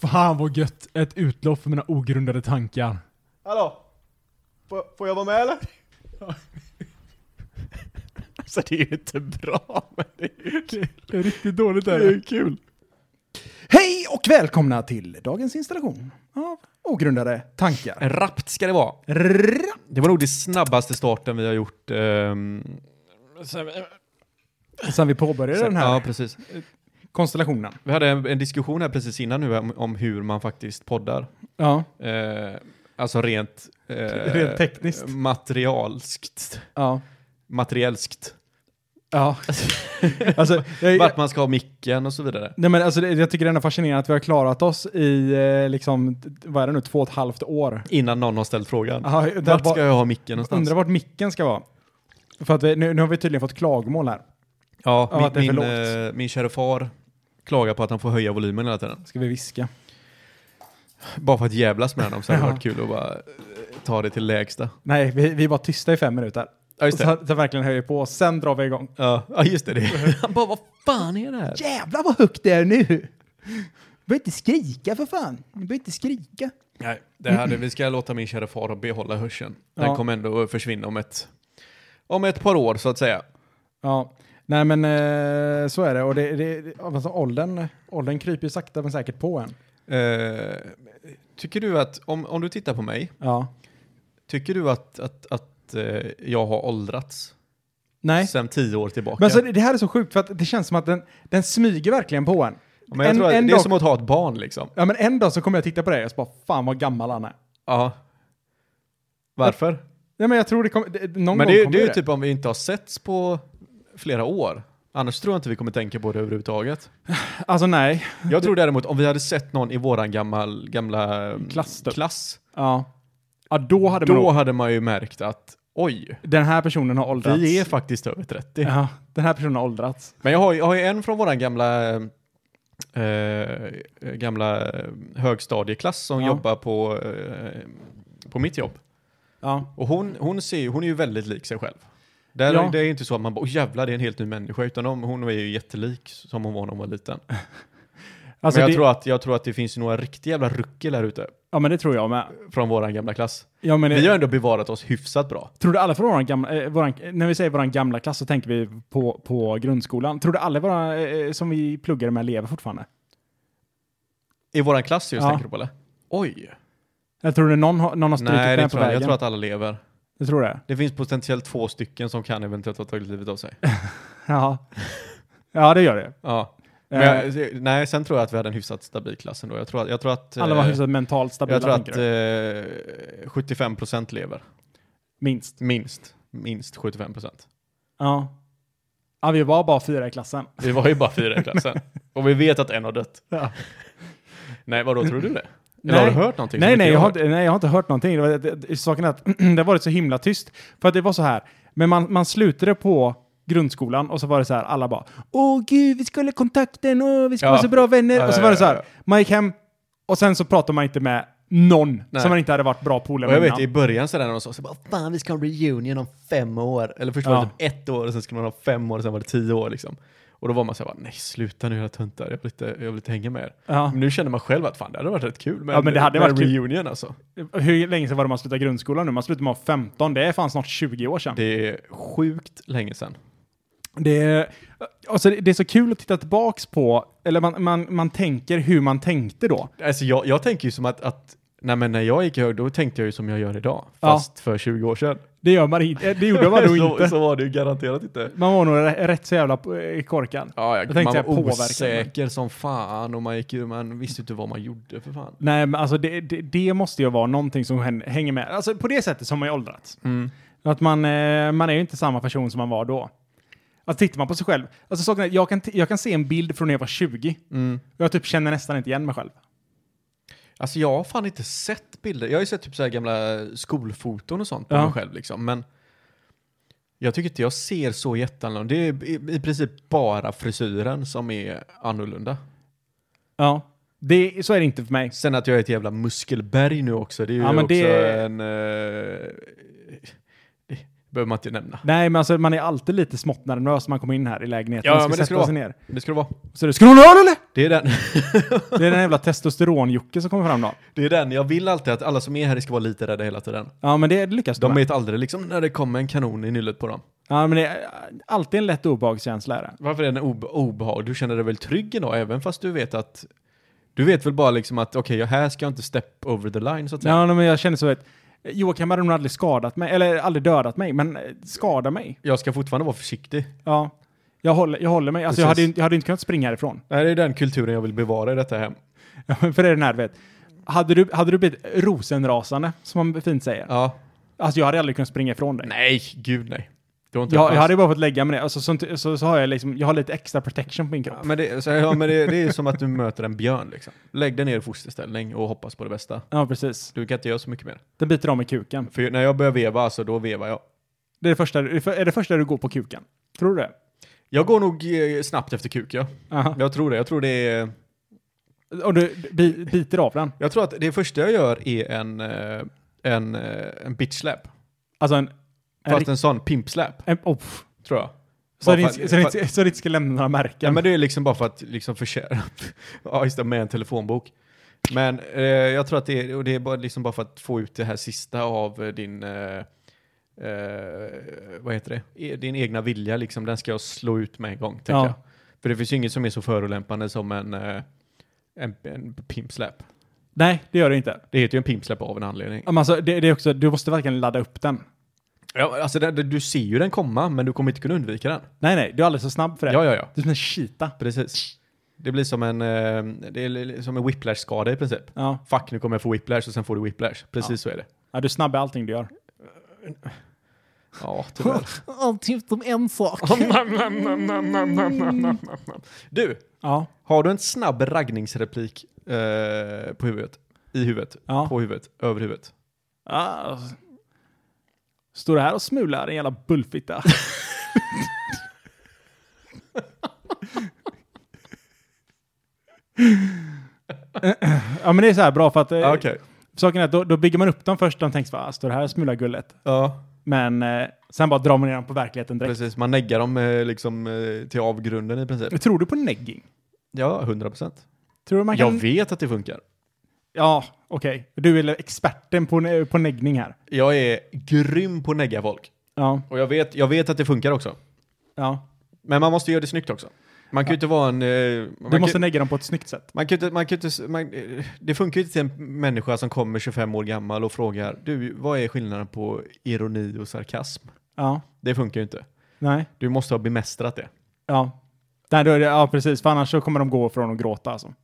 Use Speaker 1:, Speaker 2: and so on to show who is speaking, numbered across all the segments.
Speaker 1: Fan vad gött! Ett utlopp för mina ogrundade tankar.
Speaker 2: Hallå? Får, får jag vara med eller?
Speaker 3: Alltså det är ju inte bra, men det är ju kul.
Speaker 1: Det är riktigt dåligt
Speaker 3: Det är ju kul.
Speaker 4: Hej och välkomna till dagens installation av ogrundade tankar.
Speaker 3: Rappt ska det vara.
Speaker 4: Rrrra.
Speaker 3: Det var nog det snabbaste starten vi har gjort. ehm,
Speaker 4: Sen vi påbörjade den här
Speaker 3: Ja, precis.
Speaker 4: konstellationen.
Speaker 3: Vi hade en, en diskussion här precis innan nu om, om hur man faktiskt poddar.
Speaker 4: Ja,
Speaker 3: Eh, alltså rent... eh,
Speaker 4: Rent tekniskt.
Speaker 3: Materialskt.
Speaker 4: ja,
Speaker 3: Materielskt.
Speaker 4: ja. alltså, jag,
Speaker 3: Vart man ska ha micken och så vidare.
Speaker 4: nej men alltså, det- jag tycker det är ändå fascinerande att vi har klarat oss i, eh, liksom, t- vad är det nu, två och ett halvt år.
Speaker 3: Innan någon har ställt frågan.
Speaker 4: Aha, där
Speaker 3: Vart
Speaker 4: ba-
Speaker 3: ska jag ha micken någonstans?
Speaker 4: Undrar vart micken ska vara. För att vi, nu, nu har vi tydligen fått klagomål här.
Speaker 3: Ja,
Speaker 4: Ja, att det är
Speaker 3: min,
Speaker 4: för
Speaker 3: min,
Speaker 4: lågt.
Speaker 3: eh, min kära far klagar på att han får höja volymen hela tiden.
Speaker 4: Ska vi viska?
Speaker 3: Bara för att jävlas med honom så hade det
Speaker 4: Ja.
Speaker 3: varit kul att bara eh, ta det till lägsta.
Speaker 4: Nej, vi, vi var tysta i fem minuter.
Speaker 3: Ja, just det.
Speaker 4: Så, så verkligen höjer på, sen drar vi igång.
Speaker 3: Ja, ja, just det. det. Han bara, vad fan är det här?
Speaker 4: Jävlar vad högt det är nu! Du behöver inte skrika för fan. Du behöver inte skrika.
Speaker 3: Nej, det hade, vi ska låta min kära far behålla hörseln. Den
Speaker 4: Ja.
Speaker 3: kommer ändå att försvinna om ett, om ett par år så att säga.
Speaker 4: Ja, nej men eh, så är det. Och det, det, det- alltså, åldern, åldern kryper ju sakta men säkert på en.
Speaker 3: Eh, tycker du att, om, om du tittar på mig,
Speaker 4: Ja.
Speaker 3: tycker du att, att, att eh, jag har åldrats
Speaker 4: Nej.
Speaker 3: sedan tio år tillbaka?
Speaker 4: Men alltså, det det här är så sjukt för att det känns som att den, den smyger verkligen på en.
Speaker 3: Ja, men jag
Speaker 4: en-
Speaker 3: tror att
Speaker 4: en
Speaker 3: det är
Speaker 4: dag-
Speaker 3: som att ha ett barn liksom.
Speaker 4: Ja men en dag så kommer jag titta på dig och så bara fan vad gammal han är.
Speaker 3: Ja. Varför?
Speaker 4: Nej men jag tror det kommer, det, någon gång
Speaker 3: Men det, är-
Speaker 4: kommer
Speaker 3: det är ju
Speaker 4: det.
Speaker 3: typ om vi inte har setts på flera år. Annars tror jag inte vi kommer tänka på det överhuvudtaget.
Speaker 4: Alltså nej.
Speaker 3: Jag tror däremot om vi hade sett någon i våran gammal, gamla mm,
Speaker 4: Klass typ.
Speaker 3: klass
Speaker 4: Ja. Ja då hade man
Speaker 3: då
Speaker 4: nog,
Speaker 3: hade man ju märkt att oj,
Speaker 4: den här personen har åldrats.
Speaker 3: vi är faktiskt över 30.
Speaker 4: Ja, den här personen har åldrats.
Speaker 3: Men jag har, ju- jag har ju en från våran gamla, eh, gamla högstadieklass som
Speaker 4: Ja.
Speaker 3: jobbar på, eh, på mitt jobb.
Speaker 4: Ja.
Speaker 3: Och hon, hon, ser, ju- hon är ju väldigt lik sig själv. Där,
Speaker 4: Ja.
Speaker 3: Det är ju inte så att man bara, åh jävlar det är en helt ny människa, utan de, hon är ju jättelik som hon var när hon var liten.
Speaker 4: Alltså,
Speaker 3: men jag,
Speaker 4: det,
Speaker 3: tror att, jag tror att det finns några riktiga jävla ruckel här ute
Speaker 4: ja men det tror jag med.
Speaker 3: från våran gamla klass.
Speaker 4: Ja, men
Speaker 3: Vi har ändå bevarat oss hyfsat bra.
Speaker 4: Trodde alla från våran gamla, eh, våran, när vi säger våran gamla klass så tänker vi på, på grundskolan. Trodde alla våra, eh, som vi pluggade med lever fortfarande?
Speaker 3: I våran klass just,
Speaker 4: Ja.
Speaker 3: tänker du på eller? Oj!
Speaker 4: Jag tror det någon, har- någon har strukit
Speaker 3: Nej, det
Speaker 4: med på
Speaker 3: tror jag.
Speaker 4: vägen.
Speaker 3: jag tror att alla lever.
Speaker 4: Du tror det?
Speaker 3: Det finns potentiellt två stycken som kan eventuellt ha tagit livet av sig.
Speaker 4: Ja. ja, det gör det.
Speaker 3: Ja. Men
Speaker 4: Eh,
Speaker 3: jag, nej, sen tror jag att vi hade en hyfsat stabil klass ändå. Jag tror att... Jag tror att
Speaker 4: alla var
Speaker 3: eh,
Speaker 4: hyfsat mentalt stabila,
Speaker 3: Jag tror att
Speaker 4: tänker du?
Speaker 3: eh, 75% lever.
Speaker 4: Minst.
Speaker 3: Minst. Minst 75 procent.
Speaker 4: Ja. ja, vi var bara fyra i klassen.
Speaker 3: Vi var ju bara fyra i klassen. Och vi vet att en har dött.
Speaker 4: Ja.
Speaker 3: Nej, vadå, tror du det? Eller
Speaker 4: Nej.
Speaker 3: har du hört någonting? som
Speaker 4: Nej,
Speaker 3: inte
Speaker 4: nej jag, har,
Speaker 3: har
Speaker 4: inte- nej, jag har inte hört någonting. Det var, det, det, saken är att det har varit så himla tyst. För att det var så här, men man, man slutade på grundskolan och så var det så här, alla bara Åh gud, vi skulle ha kontakten och vi ska
Speaker 3: Ja.
Speaker 4: vara så bra vänner.
Speaker 3: Ja,
Speaker 4: och så
Speaker 3: ja,
Speaker 4: var det
Speaker 3: ja,
Speaker 4: så här,
Speaker 3: ja.
Speaker 4: man gick hem och sen så pratade man inte med någon
Speaker 3: Nej.
Speaker 4: som man inte hade varit bra polare
Speaker 3: Och
Speaker 4: med
Speaker 3: jag vet,
Speaker 4: innan.
Speaker 3: i början sådär när de sa så bara, fan vi ska ha en reunion om fem år. Eller först var det
Speaker 4: Ja.
Speaker 3: typ ett år och sen skulle man ha fem år och sen var det tio år liksom. Och då var man såhär, nej sluta nu era töntar, jag vill inte, jag vill inte hänga med er.
Speaker 4: Ja.
Speaker 3: Men nu känner man själv att fan det hade varit rätt kul med,
Speaker 4: Ja, men det hade
Speaker 3: med
Speaker 4: varit
Speaker 3: en
Speaker 4: kul.
Speaker 3: reunion alltså.
Speaker 4: Hur länge sedan var det man slutade grundskolan nu? Man slutade med 15, det är fan snart 20 år sedan.
Speaker 3: Det är sjukt länge sedan.
Speaker 4: Det är, alltså det det är så kul att titta tillbaks på, eller man, man, man tänker hur man tänkte då.
Speaker 3: Alltså jag, jag tänker ju som att, att nej, men när jag gick i hög, då tänkte jag ju som jag gör idag.
Speaker 4: Ja.
Speaker 3: Fast för 20 år sedan.
Speaker 4: Det, gör man, inte- det gjorde man då
Speaker 3: så,
Speaker 4: inte.
Speaker 3: så var det ju garanterat inte.
Speaker 4: Man var nog rä- rätt så jävla eh, korkad.
Speaker 3: Ja, jag,
Speaker 4: Jag tänkte
Speaker 3: man
Speaker 4: säga
Speaker 3: var
Speaker 4: påverkad, men-
Speaker 3: osäker som fan och man, gick, ju- man visste ju inte vad man gjorde för fan.
Speaker 4: Nej, men alltså det, det, det måste ju vara någonting som hän- hänger med. Alltså på det sättet som man ju åldrats.
Speaker 3: Mm.
Speaker 4: Att man, eh, man är ju inte samma person som man var då. Alltså tittar man på sig själv. Alltså saken är, jag kan, t- jag kan se en bild från när jag var 20.
Speaker 3: Mm.
Speaker 4: Och jag typ känner nästan inte igen mig själv.
Speaker 3: Alltså jag har fan inte sett bilder. Jag har ju sett typ så här gamla skolfoton och sånt på
Speaker 4: Ja.
Speaker 3: mig själv liksom. Men jag tycker inte jag ser så jätteannorlunda. Det är i, i princip bara frisyren som är annorlunda.
Speaker 4: Ja. Det, så är det inte för mig.
Speaker 3: Sen att jag är ett jävla muskelberg nu också, det är ju
Speaker 4: Ja, men
Speaker 3: också
Speaker 4: det-
Speaker 3: en... eh, det, behöver man inte nämna.
Speaker 4: Nej, men alltså man är alltid lite smått nervös när man kommer in här i lägenheten.
Speaker 3: Ja,
Speaker 4: man ska
Speaker 3: men det ska
Speaker 4: sätta sig
Speaker 3: vara.
Speaker 4: ner.
Speaker 3: Det ska det vara.
Speaker 4: Så du, ska du ha en öl eller?
Speaker 3: Det är den.
Speaker 4: Det är den jävla testosteron-Jocke som kommer fram då.
Speaker 3: Det är den. Jag vill alltid att alla som är här ska vara lite rädda hela tiden.
Speaker 4: Ja, men det lyckas du
Speaker 3: De
Speaker 4: med.
Speaker 3: vet aldrig liksom när det kommer en kanon i nyllet på dem.
Speaker 4: Ja, men det är eh, alltid en lätt obehagskänsla är det.
Speaker 3: Varför är den obe- obehag? Du känner dig väl trygg idag även fast du vet att du vet väl bara liksom att okej, här ska jag inte step over the line så att säga.
Speaker 4: Ja, men jag känner så att Joakim hade nog aldrig skadat mig, eller aldrig dödat mig, men eh, skada mig.
Speaker 3: Jag ska fortfarande vara försiktig.
Speaker 4: Ja. Jag håller, jag håller mig. Alltså, jag, hade,
Speaker 3: Precis.
Speaker 4: ju- jag hade ju inte kunnat springa härifrån.
Speaker 3: Nej, det är den kulturen jag vill bevara i detta hem.
Speaker 4: Ja, men För det är den här, du vet. Hade du, hade du blivit rosenrasande, som man fint säger.
Speaker 3: Ja.
Speaker 4: Alltså, jag hade aldrig kunnat springa ifrån dig.
Speaker 3: Nej, gud nej. Du har inte en
Speaker 4: Jag, jag
Speaker 3: chans.
Speaker 4: hade ju bara fått lägga mig ner. Alltså, sånt, så, så har jag liksom, jag har lite extra protection på min kropp.
Speaker 3: Ja, men, det, så, ja, men det, det är som att du möter en björn liksom. Lägg dig ner i fosterställning och hoppas på det bästa.
Speaker 4: Ja, precis.
Speaker 3: Du kan inte göra så mycket mer.
Speaker 4: Den biter av mig kuken.
Speaker 3: För när jag börjar veva, alltså då vevar jag.
Speaker 4: Det är det första, är det första du går på kuken? Tror du det?
Speaker 3: Jag går nog eh, snabbt efter kuk, ja.
Speaker 4: Aha.
Speaker 3: Jag tror det. Jag tror det är...
Speaker 4: Och du bi, biter av den?
Speaker 3: Jag tror att det första jag gör är en, eh, en, eh, en bitch slap.
Speaker 4: Alltså en... en,
Speaker 3: Fast
Speaker 4: rik-
Speaker 3: en sån pimp slap,
Speaker 4: en oh, pff.
Speaker 3: tror jag.
Speaker 4: så,
Speaker 3: Bara
Speaker 4: det
Speaker 3: för
Speaker 4: inte,
Speaker 3: att-
Speaker 4: så, det
Speaker 3: för-
Speaker 4: inte, så det inte ska lämna några märken?
Speaker 3: Ja, men det är liksom bara för att liksom förtjäna. ja, just det, med en telefonbok. Men eh, jag tror att det är, och det är bara, liksom bara för att få ut det här sista av eh, din, eh, eh, vad heter det, E- din egna vilja liksom. Den ska jag slå ut med en gång, tänker
Speaker 4: Ja.
Speaker 3: jag. För det finns ju inget som är så förolämpande som en, eh, en, en pimp slap.
Speaker 4: Nej, det gör det inte.
Speaker 3: Det heter ju en pimp slap av en anledning.
Speaker 4: Ja, men Alltså, det, det är också, du måste verkligen ladda upp den.
Speaker 3: Ja, alltså det, det, du ser ju den komma, men du kommer inte kunna undvika den.
Speaker 4: Nej, nej, du är alldeles för snabb för det.
Speaker 3: Ja, ja, ja.
Speaker 4: Du är som en cheetah.
Speaker 3: Precis. Det blir som en, eh, det är li- som en whiplash-skada i princip.
Speaker 4: Ja.
Speaker 3: Fuck, nu kommer jag få whiplash och sen får du whiplash. Precis så är det.
Speaker 4: ja, du är snabb i allting du gör.
Speaker 3: Ja, tyvärr.
Speaker 4: Allting utom en sak.
Speaker 3: du,
Speaker 4: Ja,
Speaker 3: har du en snabb raggningsreplik eh, på huvudet? I huvudet?
Speaker 4: Ja.
Speaker 3: På huvudet? Över huvudet?
Speaker 4: Ah. Står du här och smular en jävla bullfitta? ja men det är så här bra för att eh,
Speaker 3: Ja, Ah, Okej.
Speaker 4: saken är att då, då bygger man upp dem först. De tänker så här, "Ah, står det här och smular gullet?
Speaker 3: Ja,
Speaker 4: Men eh, sen bara drar man ner dem på verkligheten direkt.
Speaker 3: precis. Man neggar dem eh, liksom eh, till avgrunden i princip.
Speaker 4: Tror du på negging?
Speaker 3: Ja, 100 procent.
Speaker 4: Tror du man
Speaker 3: Jag
Speaker 4: kan...
Speaker 3: vet att det funkar.
Speaker 4: Ja, okej. Du är experten på, ne- på neggning här.
Speaker 3: Jag är grym på att negga folk.
Speaker 4: Ja,
Speaker 3: Och jag vet, jag vet att det funkar också.
Speaker 4: ja.
Speaker 3: Men man måste göra det snyggt också. Man kan ju inte vara en... eh, man
Speaker 4: Du
Speaker 3: kan-
Speaker 4: måste negga dem på ett snyggt sätt.
Speaker 3: Man kan ju inte, man kan ju inte, man, eh, det funkar ju inte till en människa som kommer 25 år gammal och frågar du, vad är skillnaden på ironi och sarkasm?
Speaker 4: Ja,
Speaker 3: Det funkar ju inte.
Speaker 4: nej.
Speaker 3: Du måste ha bemästrat det.
Speaker 4: Ja. Nej, då är det, ja, precis. För annars så kommer de gå från och gråta alltså.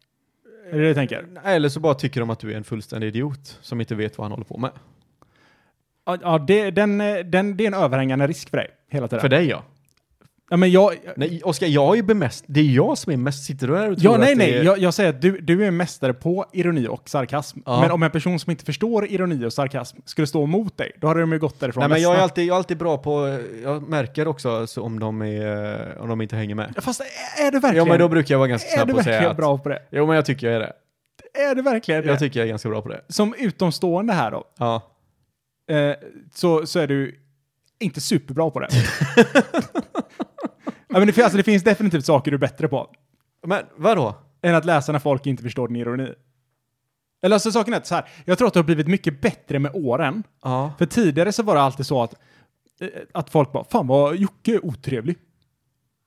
Speaker 4: Är det det du tänker?
Speaker 3: Eller så bara tycker de att du är en fullständig idiot som inte vet vad han håller på med.
Speaker 4: Ja, ja det, den, eh, den, det är en överhängande risk för dig. Hela tiden.
Speaker 3: För dig ja.
Speaker 4: ja, men jag,
Speaker 3: Nej, Oskar, jag är ju bemäst, det är jag som är mest, sitter du där och tror
Speaker 4: ja, nej,
Speaker 3: att
Speaker 4: nej.
Speaker 3: det är...
Speaker 4: Jag, jag säger att du, du är en mästare på ironi och sarkasm.
Speaker 3: Ja.
Speaker 4: Men om en person som inte förstår ironi och sarkasm skulle stå emot dig, då hade de ju gått därifrån
Speaker 3: Nej, men jag är,
Speaker 4: ledsna.
Speaker 3: alltid, jag är alltid bra på, eh, jag märker också alltså, om, de är, eh, om de inte hänger med.
Speaker 4: Ja, Fast är- är du verkligen,
Speaker 3: Ja men då brukar jag vara ganska
Speaker 4: är
Speaker 3: snabb
Speaker 4: du
Speaker 3: på att säga
Speaker 4: verkligen
Speaker 3: att...
Speaker 4: bra på det?
Speaker 3: Jo men jag tycker jag är det.
Speaker 4: Är du verkligen det?
Speaker 3: Jag tycker jag är ganska bra på det.
Speaker 4: Som utomstående här då,
Speaker 3: Ja.
Speaker 4: eh, så, så är du inte superbra på det. ja, men det, fin- alltså, det finns definitivt saker du är bättre på
Speaker 3: Men vadå?
Speaker 4: än att läsa när folk inte förstår din ironi. Eller alltså saken är att så här, jag tror att det har blivit mycket bättre med åren.
Speaker 3: Ja.
Speaker 4: För tidigare så var det alltid så att, eh, att folk bara, fan vad Jocke är otrevlig.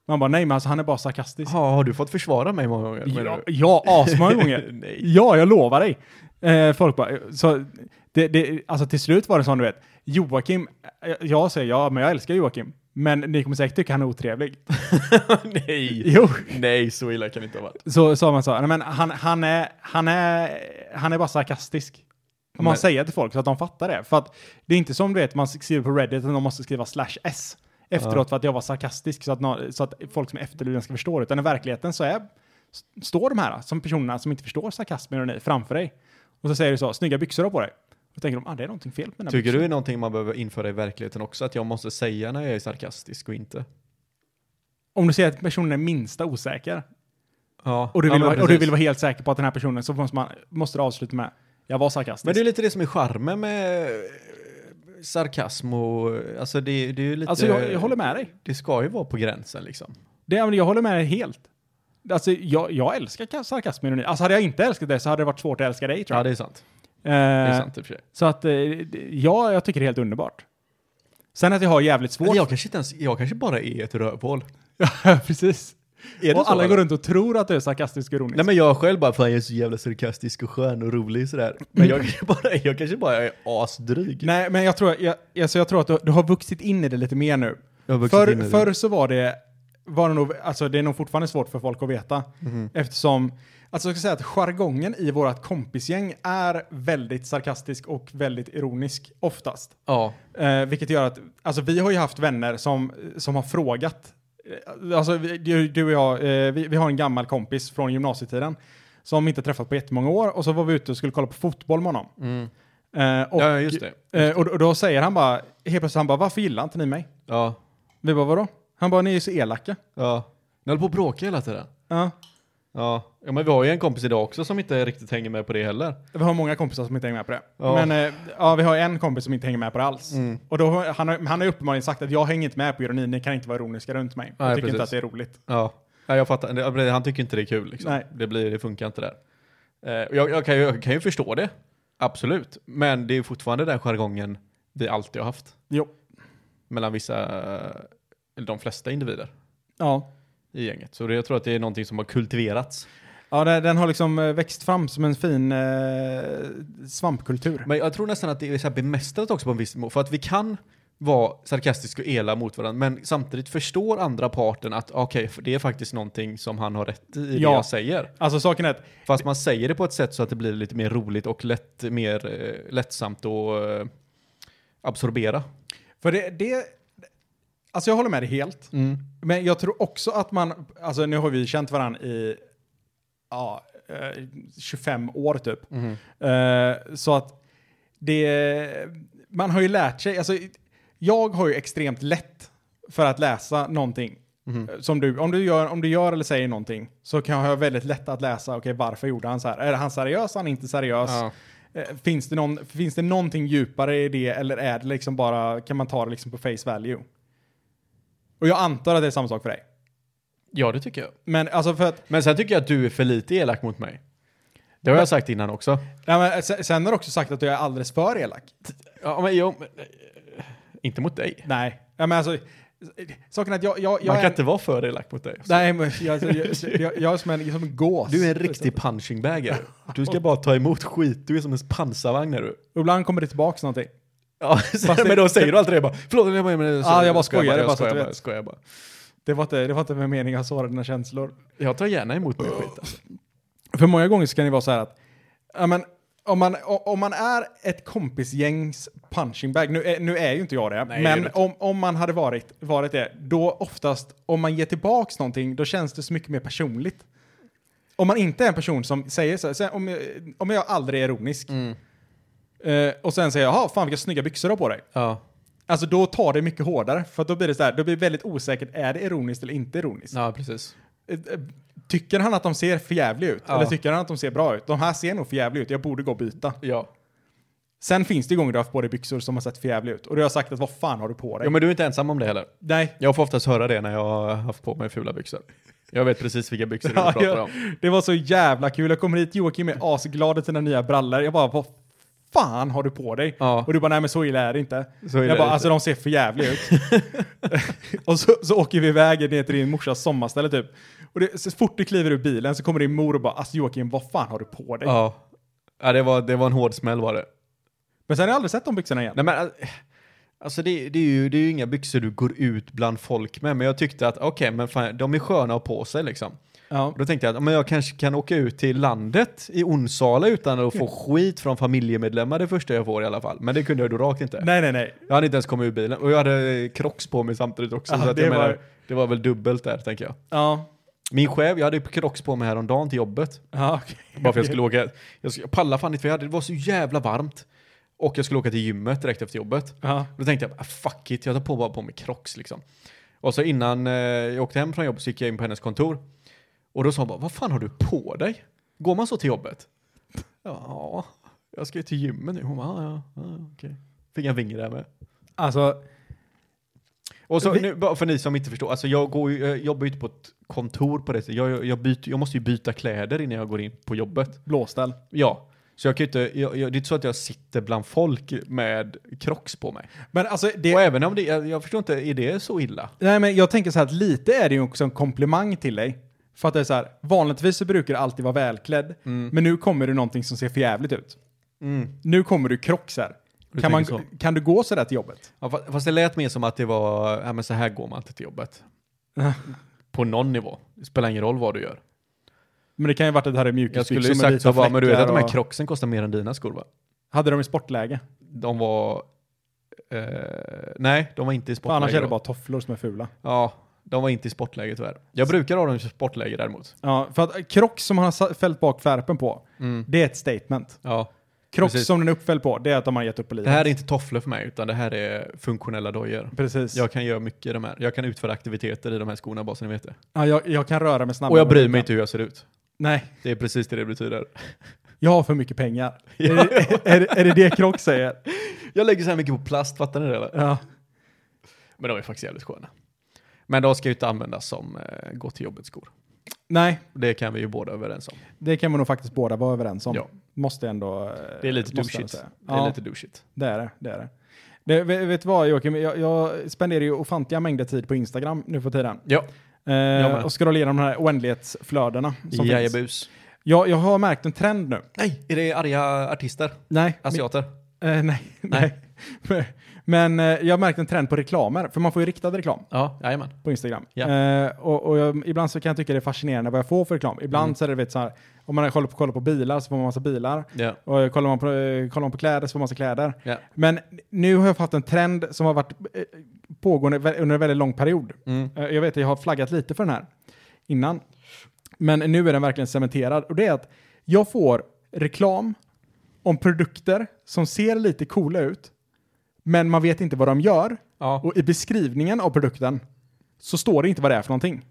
Speaker 4: Man bara, nej men alltså, han är bara sarkastisk.
Speaker 3: Ja, har du fått försvara mig många gånger? menar
Speaker 4: Ja,
Speaker 3: du?
Speaker 4: ja asmånga gånger.
Speaker 3: Nej.
Speaker 4: Ja, jag lovar dig. Eh, folk bara, så det, det, alltså till slut var det sån du vet, Joakim, eh, jag säger ja, men jag älskar Joakim. Men ni kommer säkert tycka han är otrevlig.
Speaker 3: Nej.
Speaker 4: Jo.
Speaker 3: Nej, så illa kan det inte ha varit.
Speaker 4: Så sa man så, nej men han, han, är, han, är, han är bara sarkastisk. Man
Speaker 3: Men-
Speaker 4: säger till folk så att de fattar det. För att det är inte som du vet, man skriver på Reddit att de måste skriva slash s efteråt för att jag var sarkastisk så att, nå- så att folk som är efterlydande ska förstå det. Utan i verkligheten så är, s- står de här som personerna som inte förstår sarkasm och ironi framför dig. Och så säger du så, snygga byxor du har på dig. Och tänker de, ah det är någonting fel med den här
Speaker 3: Tycker du
Speaker 4: byxorna."
Speaker 3: det är någonting man behöver införa i verkligheten också? Att jag måste säga när jag är sarkastisk och inte?
Speaker 4: Om du ser att personen är minsta osäker
Speaker 3: Ja.
Speaker 4: och du,
Speaker 3: ja,
Speaker 4: vill,
Speaker 3: men
Speaker 4: vara, och du
Speaker 3: precis.
Speaker 4: vill vara helt säker på att den här personen, så måste, man, måste du avsluta med, jag var sarkastisk.
Speaker 3: Men det är lite det som är charmen med eh, sarkasm och... Alltså det, det är ju lite...
Speaker 4: Alltså jag, jag håller med dig.
Speaker 3: Det ska ju vara på gränsen liksom.
Speaker 4: Det, ja, men jag håller med dig helt. Alltså jag, jag älskar ka- sarkasm och ironi. Alltså hade jag inte älskat det så hade det varit svårt att älska dig tror
Speaker 3: Ja,
Speaker 4: jag.
Speaker 3: det är sant. Det
Speaker 4: Eh,
Speaker 3: är sant i och för sig.
Speaker 4: Så att eh, det- ja, jag tycker det är helt underbart. Sen att jag har jävligt
Speaker 3: Men
Speaker 4: svårt.
Speaker 3: Alltså, jag kanske inte ens... Jag kanske bara är ett rövhål.
Speaker 4: Ja, precis.
Speaker 3: Är det
Speaker 4: och
Speaker 3: så,
Speaker 4: alla
Speaker 3: eller?
Speaker 4: går runt och tror att du är sarkastisk och ironisk.
Speaker 3: Nej men jag själv bara, fan jag är så jävla sarkastisk och skön och rolig sådär. Men jag kanske bara, jag kanske bara är asdryg.
Speaker 4: Typ. Nej, men jag tror, jag, alltså jag tror att du, du har vuxit in i det lite mer nu.
Speaker 3: Jag har vuxit in i
Speaker 4: Förr
Speaker 3: det.
Speaker 4: förr så var det, var det nog, alltså det är nog fortfarande svårt för folk att veta.
Speaker 3: Mhm.
Speaker 4: Eftersom, alltså jag ska säga att jargongen i vårt kompisgäng är väldigt sarkastisk och väldigt ironisk oftast.
Speaker 3: Ja.
Speaker 4: Eh, vilket gör att, alltså vi har ju haft vänner som, som har frågat, eh, alltså vi- du, du och jag, eh, vi, vi har en gammal kompis från gymnasietiden som inte träffat på jättemånga år och så var vi ute och skulle kolla på fotboll med honom. Eh, och,
Speaker 3: Mm. ja, just det.
Speaker 4: Eh, och, och då säger han bara, helt plötsligt han bara, varför gillar inte ni mig?
Speaker 3: Ja.
Speaker 4: Vi bara, vadå? Han bara, ni är ju så elaka.
Speaker 3: Ja. Ni håller på och bråkar hela tiden.
Speaker 4: Ja.
Speaker 3: Ja. ja, men vi har ju en kompis idag också som inte riktigt hänger med på det heller.
Speaker 4: Vi har många kompisar som inte hänger med på det.
Speaker 3: Ja. Mm.
Speaker 4: Men eh, ja, vi har en kompis som inte hänger med på det alls. Och då, har- han, har, han har ju uppenbarligen sagt att jag hänger inte med på ironi, ni kan inte vara ironiska runt mig. jag
Speaker 3: Nej,
Speaker 4: tycker inte
Speaker 3: precis.
Speaker 4: att det är roligt.
Speaker 3: Ja, ja jag fattar. Det- Han tycker inte det är kul. Liksom.
Speaker 4: Nej.
Speaker 3: Det, blir, det funkar inte där. Eh, och Jag, jag, kan ju, jag kan ju förstå det, absolut. Men det är ju fortfarande den jargongen vi alltid har haft.
Speaker 4: Jo.
Speaker 3: Mellan vissa, eh, eller de flesta individer
Speaker 4: Ja.
Speaker 3: i gänget. Så det, jag tror att det är någonting som har kultiverats.
Speaker 4: Ja, den, den har liksom eh, växt fram som en fin eh, svampkultur.
Speaker 3: Men jag tror nästan att det är så här bemästrat också på en viss nivå. För att vi kan vara sarkastiska och ela mot varandra, men samtidigt förstår andra parten att okej, för det är faktiskt någonting som han har rätt i, i det
Speaker 4: Ja.
Speaker 3: jag säger.
Speaker 4: Alltså saken är att
Speaker 3: Fast man säger det på ett sätt så att det blir lite mer roligt och lätt, mer eh, lättsamt att eh, absorbera.
Speaker 4: För det, det... Alltså jag håller med dig helt. Men jag tror också att man... Alltså nu har vi känt varandra i ja, eh, 25 år typ.
Speaker 3: Mm-hmm.
Speaker 4: Eh, så att det... Man har ju lärt sig... Alltså, jag har ju extremt lätt för att läsa någonting.
Speaker 3: Mm-hmm.
Speaker 4: Eh, Som du, om, du gör, om du gör eller säger någonting så kan jag ha väldigt lätt att läsa, okej varför gjorde han så här? Är han seriös, han är inte seriös?
Speaker 3: Ja.
Speaker 4: Eh, Finns det, någon, finns det någonting djupare i det eller är det liksom bara, kan man ta det liksom på face value? Och jag antar att det är samma sak för dig.
Speaker 3: Ja, det tycker jag.
Speaker 4: Men alltså för att,
Speaker 3: Men sen tycker jag att du är för lite elak mot mig. Det har jag sagt innan också.
Speaker 4: nej men, se- sen har du också sagt att jag är alldeles för elak.
Speaker 3: Ja, men jag, men, eh, inte mot dig.
Speaker 4: Nej, ja, men alltså, saken är att jag, jag, jag
Speaker 3: Man
Speaker 4: är...
Speaker 3: kan inte vara för elak mot dig.
Speaker 4: Nej, men jag, alltså, jag, jag, jag är som en, som en gås.
Speaker 3: Du är en riktig punching-bag. är du. Du ska bara ta emot skit. Du är som en pansarvagn är du.
Speaker 4: Och Ibland kommer det tillbaks någonting.
Speaker 3: Ja,
Speaker 4: det-
Speaker 3: men då säger du alltid det bara. Förlåt, jag bara... men-
Speaker 4: Ja, jag bara skojar, bara
Speaker 3: Jag
Speaker 4: så att
Speaker 3: skojar
Speaker 4: du
Speaker 3: bara.
Speaker 4: vet.
Speaker 3: Jag, skojar bara.
Speaker 4: Det var inte, det var inte med mening att såra dina känslor.
Speaker 3: jag tar gärna emot min skit. Alltså.
Speaker 4: För många gånger så kan det vara så här att ja, men, om, man, o- om man är ett kompisgängs punching bag, nu är, nu är ju inte jag det,
Speaker 3: Nej, det är
Speaker 4: men
Speaker 3: du inte.
Speaker 4: om, om man hade varit, varit det, då oftast om man ger tillbaks någonting, då känns det så mycket mer personligt. Om man inte är en person som säger så här, så här, om, jag- om jag aldrig är ironisk,
Speaker 3: Mm.
Speaker 4: eh, och sen säger jag, "Jaha, fan vilka snygga byxor du har på dig.
Speaker 3: Ja.
Speaker 4: Alltså då tar det mycket hårdare, för att då blir det så här, då blir det väldigt osäkert, är det ironiskt eller inte ironiskt?
Speaker 3: ja, precis.
Speaker 4: Eh, eh, Tycker han att de ser förjävliga ut?
Speaker 3: Ja.
Speaker 4: Eller tycker han att de ser bra ut? De här ser nog förjävliga ut, jag borde gå och byta.
Speaker 3: Ja.
Speaker 4: Sen finns det ju gånger du har haft på dig byxor som har sett förjävliga ut. Och du har sagt att vad fan har du på dig?
Speaker 3: Ja, men du är inte ensam om det heller.
Speaker 4: Nej.
Speaker 3: Jag får oftast höra det när jag har haft på mig fula byxor. Jag vet precis vilka byxor du
Speaker 4: Ja,
Speaker 3: pratar
Speaker 4: jag-
Speaker 3: om.
Speaker 4: Det var så jävla kul. Jag kommer hit, Joakim är asglad i sina nya brallor. Jag bara, vad fan har du på dig?
Speaker 3: Ja.
Speaker 4: Och du bara, nej men så illa är det inte.
Speaker 3: Så illa
Speaker 4: jag bara,
Speaker 3: är det
Speaker 4: alltså de ser förjävliga ut. och så, så åker vi iväg ner till din morsas sommarställe typ. Och det, så fort du kliver ur bilen så kommer din mor och bara, alltså Joakim, vad fan har du på dig?
Speaker 3: Ja. ja, det var, det var en hård smäll var det.
Speaker 4: Men sen har jag aldrig sett de byxorna igen.
Speaker 3: Nej, men, all- alltså det, det, är ju, det är ju inga byxor du går ut bland folk med, men jag tyckte att okej, men fan, de är sköna att ha på sig liksom.
Speaker 4: Ja.
Speaker 3: Och Då tänkte jag att men jag kanske kan åka ut till landet i Onsala utan att få skit från familjemedlemmar det första jag får i alla fall. Men det kunde jag då rakt inte.
Speaker 4: Nej, nej, nej.
Speaker 3: Jag hade inte ens kommit ur bilen och jag hade eh, Crocs på mig samtidigt också.
Speaker 4: Ja,
Speaker 3: så att
Speaker 4: det
Speaker 3: jag
Speaker 4: var-
Speaker 3: menar, det var väl dubbelt där tänker jag.
Speaker 4: Ja.
Speaker 3: Min chef, jag hade Crocs på mig häromdagen till jobbet.
Speaker 4: Ja, okej.
Speaker 3: Bara för jag skulle åka. Jag, skulle, jag pallade fan inte för jag hade, det var så jävla varmt. Och jag skulle åka till gymmet direkt efter jobbet.
Speaker 4: Ja.
Speaker 3: Då tänkte jag, ah, fuck it, jag tar på, bara på mig Crocs liksom. Och så innan eh, jag åkte hem från jobbet så gick jag in på hennes kontor. Och då sa hon bara, vad fan har du på dig? Går man så till jobbet? Ja, jag ska ju till gymmet nu. Hon bara, "Ah, ja, ja, okej. Fick en vinge där med.
Speaker 4: Alltså,
Speaker 3: Och så,
Speaker 4: Vi-
Speaker 3: nu, bara för ni som inte förstår, alltså jag går ju, jag jobbar ju inte på ett kontor på det sättet. Jag, jag, byter, jag måste ju byta kläder innan jag går in på jobbet.
Speaker 4: blåställ.
Speaker 3: Ja. Så jag kan ju inte, jag, jag, det är inte så att jag sitter bland folk med crocs på mig.
Speaker 4: Men alltså, det,
Speaker 3: Och även om det, jag, jag förstår inte, är det så illa?
Speaker 4: Nej, men jag tänker så här att lite är det ju också en komplimang till dig. För att det är så här, vanligtvis så brukar du alltid vara välklädd,
Speaker 3: Mm.
Speaker 4: men nu kommer du någonting som ser för jävligt ut. Nu kommer du krocksar.
Speaker 3: Du
Speaker 4: Kan, man,
Speaker 3: tänker
Speaker 4: kan du gå sådär till jobbet?
Speaker 3: Ja, fa- fast det lät mer som att det var, ja men så här går man inte till jobbet. på någon nivå. Det spelar ingen roll vad du gör.
Speaker 4: Men det kan ju varit att det här är
Speaker 3: Jag
Speaker 4: mjukisbyxor
Speaker 3: skulle ju
Speaker 4: med
Speaker 3: sagt så
Speaker 4: vita
Speaker 3: bara, men du vet att de
Speaker 4: fläckar
Speaker 3: här
Speaker 4: och-
Speaker 3: krocksen kostar mer än dina skor va?
Speaker 4: Hade de i sportläge?
Speaker 3: De var... Eh, nej, de var inte i
Speaker 4: För annars
Speaker 3: sportläge.
Speaker 4: är det
Speaker 3: då.
Speaker 4: bara tofflor som är fula.
Speaker 3: Ja, de var inte i sportläge tyvärr. Jag brukar ha dem i sportläge däremot.
Speaker 4: Ja, för att krock som han har sa- fällt bak skärpen på,
Speaker 3: Mm.
Speaker 4: det är ett statement.
Speaker 3: Ja.
Speaker 4: Krock
Speaker 3: Precis.
Speaker 4: som den är uppfälld på, det är att de har gett upp på livet.
Speaker 3: Det här är inte tofflor för mig, utan det här är funktionella dojor.
Speaker 4: Precis.
Speaker 3: Jag kan göra mycket i de här. Jag kan utföra aktiviteter i de här skorna, bara så ni vet det.
Speaker 4: ja, jag, jag kan röra mig snabbare.
Speaker 3: Och jag bryr mig inte hur jag ser ut.
Speaker 4: Nej.
Speaker 3: Det är precis det det betyder.
Speaker 4: Jag har för mycket pengar. Är, det, är, det- är det det Krock säger?
Speaker 3: Jag lägger så här mycket på plast, fattar ni det eller?
Speaker 4: Ja.
Speaker 3: Men de är faktiskt jävligt sköna. Men de ska ju inte användas som eh, gå till jobbet-skor.
Speaker 4: Nej,
Speaker 3: Det kan vi ju båda överens om.
Speaker 4: det kan vi nog faktiskt båda vara överens om.
Speaker 3: Ja.
Speaker 4: Måste ändå... eh,
Speaker 3: Det är lite
Speaker 4: måste jag
Speaker 3: douchigt.
Speaker 4: säga.
Speaker 3: Det
Speaker 4: Ja,
Speaker 3: är lite douchigt.
Speaker 4: det är det. det, är det. det vet vet du vad Joakim, jag, jag spenderar ju ofantliga mängder tid på Instagram nu för tiden.
Speaker 3: Ja, med.
Speaker 4: Eh, och scrollar igenom de här oändlighetsflödena som finns.
Speaker 3: jajabus.
Speaker 4: Jag, jag har märkt en trend nu.
Speaker 3: Nej, är det arga artister?
Speaker 4: Nej,
Speaker 3: Asiater?
Speaker 4: men- eh, nej, nej. Men eh, jag har märkt en trend på reklamer, för man får ju riktad reklam.
Speaker 3: Ja, jajamän.
Speaker 4: på Instagram.
Speaker 3: Ja.
Speaker 4: Eh, och och jag, ibland så kan jag tycka det är fascinerande vad jag får för reklam. Ibland
Speaker 3: Mm.
Speaker 4: så är det vet, så här, om man kollar på, kollar på bilar så får man massa bilar.
Speaker 3: Ja.
Speaker 4: Och eh, kollar man, på, eh, kollar man på kläder så får man massa kläder.
Speaker 3: Ja.
Speaker 4: Men nu har jag haft en trend som har varit eh, pågående vä- under en väldigt lång period.
Speaker 3: Mm.
Speaker 4: Eh, jag vet att jag har flaggat lite för den här innan. Men nu är den verkligen cementerad. Och det är att jag får reklam om produkter som ser lite coola ut. Men man vet inte vad de gör.
Speaker 3: Ja.
Speaker 4: Och i beskrivningen av produkten så står det inte vad det är för någonting.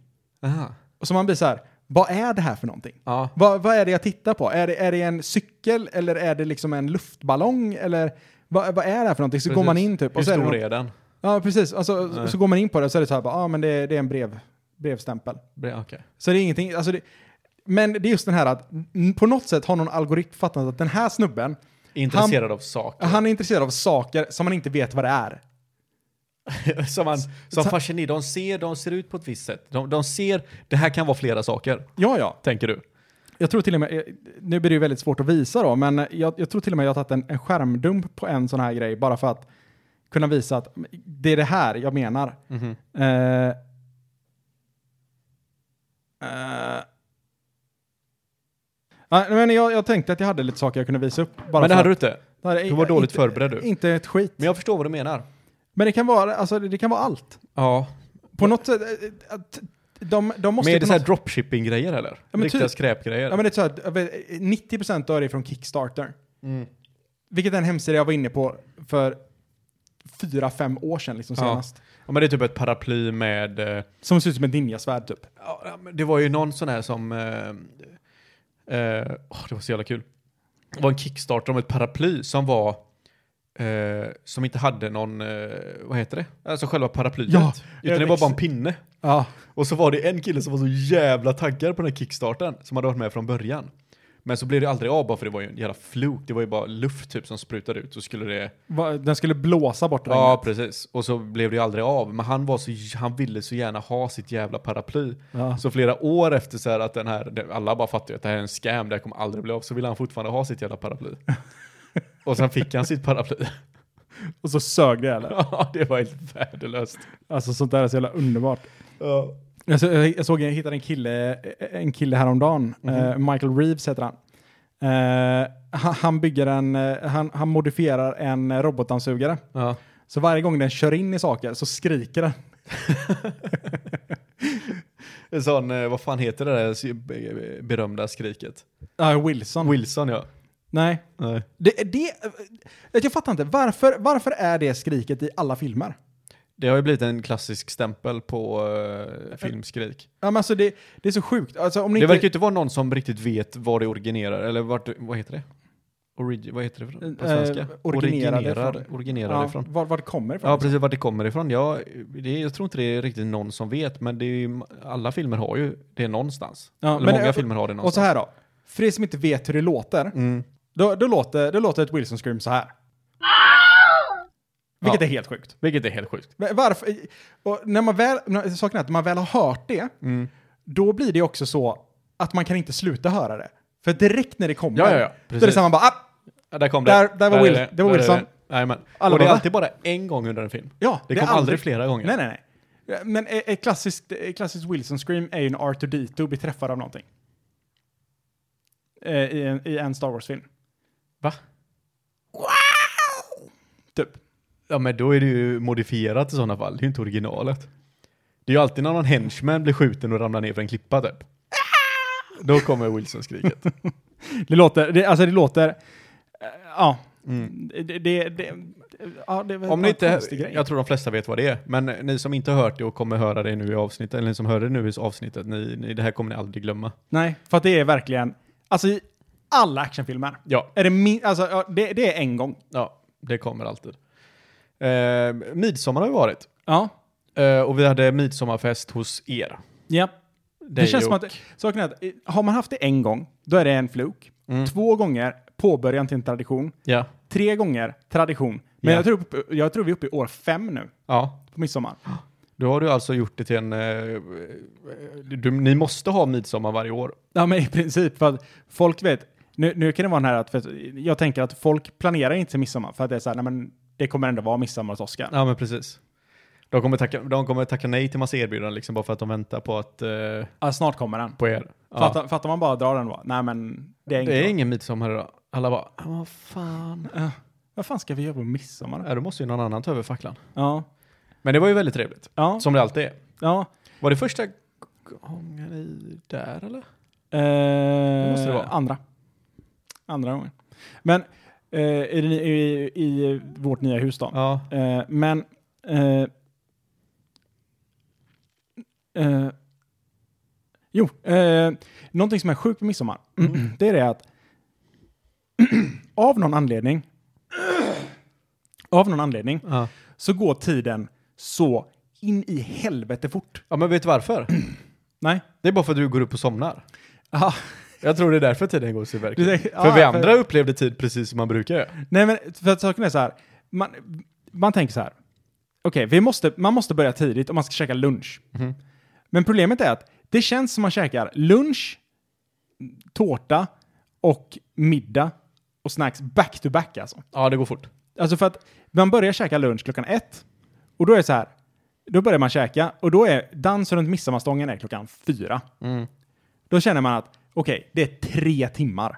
Speaker 3: Aha.
Speaker 4: Och så man blir så här, vad är det här för någonting?
Speaker 3: Ja.
Speaker 4: Vad, vad är det jag tittar på? Är det, är det en cykel eller är det liksom en luftballong? Eller vad, vad är det här för någonting? Så går man in typ.
Speaker 3: Hur
Speaker 4: så
Speaker 3: stor
Speaker 4: någon-
Speaker 3: är den?
Speaker 4: Ja, precis. Alltså, så- så går man in på det och så är det så här, bara, ah, men det, det är en brev, brevstämpel.
Speaker 3: Bre- Okej.
Speaker 4: Så det är ingenting, alltså det, men det är just den här att mm, på något sätt har någon algoritm fattat att den här snubben,
Speaker 3: Intresserad av saker.
Speaker 4: han är intresserad av saker som man inte vet vad det är.
Speaker 3: som han, som
Speaker 4: Så-
Speaker 3: fascinerar. De ser, de ser ut på ett visst sätt. De, de ser, det här kan vara flera saker,
Speaker 4: Ja, ja.
Speaker 3: tänker du.
Speaker 4: Jag tror till och med, eh, nu blir det ju väldigt svårt att visa då, men jag, jag tror till och med jag har tagit en, en skärmdump på en sån här grej bara för att kunna visa att det är det här jag menar.
Speaker 3: Mhm.
Speaker 4: Eh, eh. Ja, men jag, jag tänkte att jag hade lite saker jag kunde visa upp. Bara
Speaker 3: Men
Speaker 4: för
Speaker 3: det hade du
Speaker 4: att-
Speaker 3: inte.
Speaker 4: det här är-
Speaker 3: Du var dåligt
Speaker 4: inte,
Speaker 3: förberedd du.
Speaker 4: Inte ett skit.
Speaker 3: Men jag förstår vad du menar.
Speaker 4: Men det kan vara, alltså, det det kan vara allt.
Speaker 3: Ja.
Speaker 4: På något sätt, eh, att de, de måste...
Speaker 3: Men
Speaker 4: ju på
Speaker 3: är det så här
Speaker 4: något-
Speaker 3: dropshipping-grejer eller?
Speaker 4: Ja, men
Speaker 3: Riktiga
Speaker 4: typ.
Speaker 3: skräpgrejer?
Speaker 4: Ja, men det är så här, eh, jag vet, 90% av det är från Kickstarter.
Speaker 3: Mm.
Speaker 4: Vilket är en hemsida jag var inne på för fyra, fem år sedan liksom
Speaker 3: Ja.
Speaker 4: senast.
Speaker 3: det är typ ett paraply med... eh,
Speaker 4: Som ser ut som ett ninjasvärd typ.
Speaker 3: ja, ja, men det var ju någon sån här som... Eh, eh, åh, det var så jävla kul. Det var en kickstarter om ett paraply som var... Eh, som inte hade någon... Eh, vad heter det? Alltså själva paraplyet.
Speaker 4: Ja,
Speaker 3: Utan det
Speaker 4: en
Speaker 3: var
Speaker 4: ex-
Speaker 3: bara en pinne.
Speaker 4: Ja.
Speaker 3: Och så var det en kille som var så jävla taggad på den här kickstarten som hade varit med från början. Men så blev det aldrig av bara för det var ju en jävla fluk. Det var ju bara luft typ som sprutade ut. Så skulle det...
Speaker 4: Va- Den skulle blåsa bort regnet.
Speaker 3: Ja, precis. Och så blev det ju aldrig av. Men han, var så, han ville så gärna ha sitt jävla paraply.
Speaker 4: Ja.
Speaker 3: Så flera år efter så här att den här, alla bara fattade ju att det här är en scam, det här kommer aldrig bli av. Så ville han fortfarande ha sitt jävla paraply. Och sen fick han sitt paraply.
Speaker 4: Och så sög det eller?
Speaker 3: Ja, det var helt värdelöst.
Speaker 4: Alltså sånt där är så jävla underbart.
Speaker 3: Ja.
Speaker 4: Jag, så, jag, jag såg, jag hittade en kille, en kille häromdagen. Eh, Michael Reeves heter han. Eh, han, han bygger en, eh, han, han modifierar en eh, robotdammsugare.
Speaker 3: Ja.
Speaker 4: Så varje gång den kör in i saker så skriker den.
Speaker 3: En sån, eh, vad fan heter det där eh, berömda skriket?
Speaker 4: Ja, Wilson.
Speaker 3: Wilson ja.
Speaker 4: Nej.
Speaker 3: Nej.
Speaker 4: Det, det, eh, jag fattar inte, varför, varför är det skriket i alla filmer?
Speaker 3: Det har ju blivit en klassisk stämpel på eh, filmskrik.
Speaker 4: Ja, men alltså det, det är så sjukt. Alltså, om ni
Speaker 3: Det
Speaker 4: inte,
Speaker 3: verkar ju inte vara någon som riktigt vet vad det originerar, eller vart, vad heter det? origi- vad heter det för- på
Speaker 4: Eh,
Speaker 3: svenska?
Speaker 4: originerade
Speaker 3: Originerar,
Speaker 4: från-
Speaker 3: originerar
Speaker 4: Ja,
Speaker 3: ifrån.
Speaker 4: var, var det kommer ifrån?
Speaker 3: Ja, precis vart det kommer ifrån. Ja, det, är- jag tror inte det är riktigt någon som vet, men det är ju, alla filmer har ju det någonstans.
Speaker 4: Ja,
Speaker 3: Eller
Speaker 4: men-
Speaker 3: många filmer har det
Speaker 4: Och
Speaker 3: någonstans.
Speaker 4: så här då. För er som inte vet hur det låter,
Speaker 3: Mm.
Speaker 4: då, då, låter, då låter ett Wilson Scream så här. Vilket
Speaker 3: Ja.
Speaker 4: är helt sjukt.
Speaker 3: Vilket är helt sjukt.
Speaker 4: Men Varför? Och när man väl, när- saken är att när man väl har hört det,
Speaker 3: Mm.
Speaker 4: då blir det också så att man kan inte sluta höra det. För direkt när det kommer,
Speaker 3: Ja, ja,
Speaker 4: då
Speaker 3: ja.
Speaker 4: är det
Speaker 3: Precis.
Speaker 4: så man bara, ah,
Speaker 3: Ja, där kom
Speaker 4: Där-
Speaker 3: det.
Speaker 4: där var
Speaker 3: är
Speaker 4: Will- det var
Speaker 3: Där är
Speaker 4: Wilson.
Speaker 3: Nej, men.
Speaker 4: Alla
Speaker 3: och
Speaker 4: bara,
Speaker 3: det är
Speaker 4: va?
Speaker 3: alltid bara en gång under en film.
Speaker 4: ja.
Speaker 3: Det,
Speaker 4: är
Speaker 3: kom aldrig, flera gånger.
Speaker 4: Nej, nej, nej. Men eh, ett klassiskt, ett klassiskt Wilson Scream är ju när Arthur Dito blir träffad av någonting. Eh, I en, i en Star Wars-film.
Speaker 3: Va?
Speaker 4: Typ.
Speaker 3: Ja, men då är det ju modifierat i sådana fall. Det är ju inte originalet. Det är ju alltid när någon henchman blir skjuten och ramlar ner för en klippa typ.
Speaker 4: Ah!
Speaker 3: Då kommer Wilson-skriket.
Speaker 4: Det låter, det, alltså det låter, eh, ja. Det, det, det, det, ja, det är väl
Speaker 3: Mm. Om
Speaker 4: bara
Speaker 3: ni
Speaker 4: en
Speaker 3: inte,
Speaker 4: konstig grej.
Speaker 3: jag tror de flesta vet vad det är, men ni som inte har hört det och kommer höra det nu i avsnittet, eller ni som hörde det nu i avsnittet, ni, ni, det här kommer ni aldrig glömma.
Speaker 4: Nej, för att det är verkligen, alltså i alla actionfilmer.
Speaker 3: Ja,
Speaker 4: Är det, min, alltså, ja, det, det är en gång.
Speaker 3: ja det kommer alltid. Eh, midsommar har ju varit,
Speaker 4: Ja.
Speaker 3: eh, och vi hade midsommarfest hos er.
Speaker 4: Ja. Det
Speaker 3: Dig
Speaker 4: känns som
Speaker 3: och-
Speaker 4: att, saken är att eh, har man haft det en gång, då är det en fluk.
Speaker 3: Mm.
Speaker 4: Två gånger, påbörjan till en tradition.
Speaker 3: Ja,
Speaker 4: Tre gånger, tradition. Men
Speaker 3: Ja.
Speaker 4: jag, tror, upp- jag tror vi är uppe i år fem nu,
Speaker 3: ja.
Speaker 4: på midsommar.
Speaker 3: Då har du alltså gjort det till en... Eh, du, ni måste ha midsommar varje år.
Speaker 4: Ja, men i princip. För att folk vet, nu, nu kan det vara den här att, för att jag tänker att folk planerar inte till midsommar, för att det är så här, nej men det kommer ändå vara midsommar hos Oskar.
Speaker 3: Ja, men precis. De kommer tacka, de kommer tacka nej till massa erbjudanden liksom bara för att de väntar på, att, eh,
Speaker 4: Ja, snart kommer den.
Speaker 3: på er. Ja.
Speaker 4: Fattar, fattar man bara drar den bara, nej men det är inget.
Speaker 3: Det är
Speaker 4: bra.
Speaker 3: ingen midsommar idag. Alla bara, "Ah, vad fan.
Speaker 4: Ja. Vad fan ska vi göra på midsommar? då?
Speaker 3: Ja, då måste ju någon annan ta över facklan.
Speaker 4: Ja.
Speaker 3: Men det var ju väldigt trevligt.
Speaker 4: Ja.
Speaker 3: Som det alltid är.
Speaker 4: ja.
Speaker 3: Var det första gången i där eller?
Speaker 4: Eh,
Speaker 3: måste det vara.
Speaker 4: Andra. Andra gången. Men eh, i, det- i, i vårt nya hus då.
Speaker 3: Ja.
Speaker 4: Eh, men... Eh, eh, jo, eh, någonting som är sjukt med midsommar, det är det att av någon anledning av någon anledning
Speaker 3: ja.
Speaker 4: så går tiden så in i helvete fort.
Speaker 3: Ja, men vet du varför?
Speaker 4: Nej.
Speaker 3: Det är bara för att du går upp och somnar.
Speaker 4: Aha.
Speaker 3: Jag tror det är därför tiden går så
Speaker 4: Du
Speaker 3: verkligen.
Speaker 4: tänker-
Speaker 3: För
Speaker 4: ja,
Speaker 3: vi
Speaker 4: för-
Speaker 3: andra upplevde tid precis som man brukar göra.
Speaker 4: Nej, men för att saken är så här. Man, man tänker så här. Okej, vi måste, man måste börja tidigt om man ska käka lunch. Men problemet är att det känns som man käkar lunch, tårta och middag och snacks back to back alltså.
Speaker 3: Ja, det går fort.
Speaker 4: Alltså för att man börjar käka lunch klockan ett och då är det så här. Då börjar man käka och då är dans runt midsommarstången är klockan fyra. Då känner man att okej, det är tre timmar.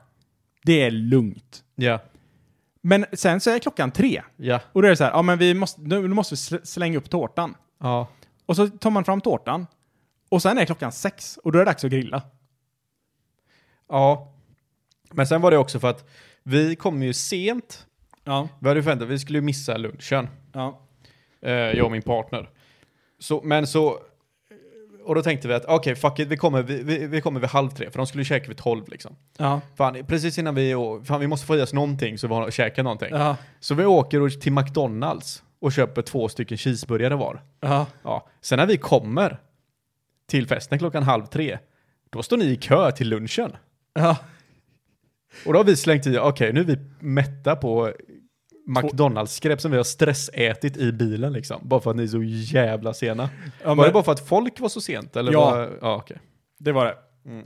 Speaker 4: Det är lugnt.
Speaker 3: Ja,
Speaker 4: Men sen så är klockan tre.
Speaker 3: ja,
Speaker 4: Och då är det så här, ja men vi måste, nu, nu måste vi sl- slänga upp tårtan.
Speaker 3: ja.
Speaker 4: Och så tar man fram tårtan. Och sen är klockan sex och då är det dags att grilla.
Speaker 3: Ja. Men sen var det också för att vi kom ju sent.
Speaker 4: Ja.
Speaker 3: Vi hade ju förväntat vi skulle ju missa lunchen.
Speaker 4: Ja.
Speaker 3: Eh, jag och min partner. Så, men så... Och då tänkte vi att okej, fuck it, vi kommer, vi, vi, vi kommer vid halv tre. För de skulle käka vid tolv liksom.
Speaker 4: Ja.
Speaker 3: Fan, precis innan vi... å- Fan, vi måste få i oss någonting så vi har käka någonting.
Speaker 4: Ja.
Speaker 3: Så vi åker och- till McDonalds och köper två stycken cheeseburgare var.
Speaker 4: Ja.
Speaker 3: Ja. Sen när vi kommer till festen klockan halv tre, då står ni i kö till lunchen.
Speaker 4: Ja.
Speaker 3: Och då har vi slängt i, okej nu är vi mätta på McDonalds-skräp som vi har stressätit i bilen liksom. Bara för att ni är så jävla sena.
Speaker 4: men-
Speaker 3: var det bara för att folk var så sent? Eller
Speaker 4: Ja.
Speaker 3: Var, ja okej.
Speaker 4: Det var det.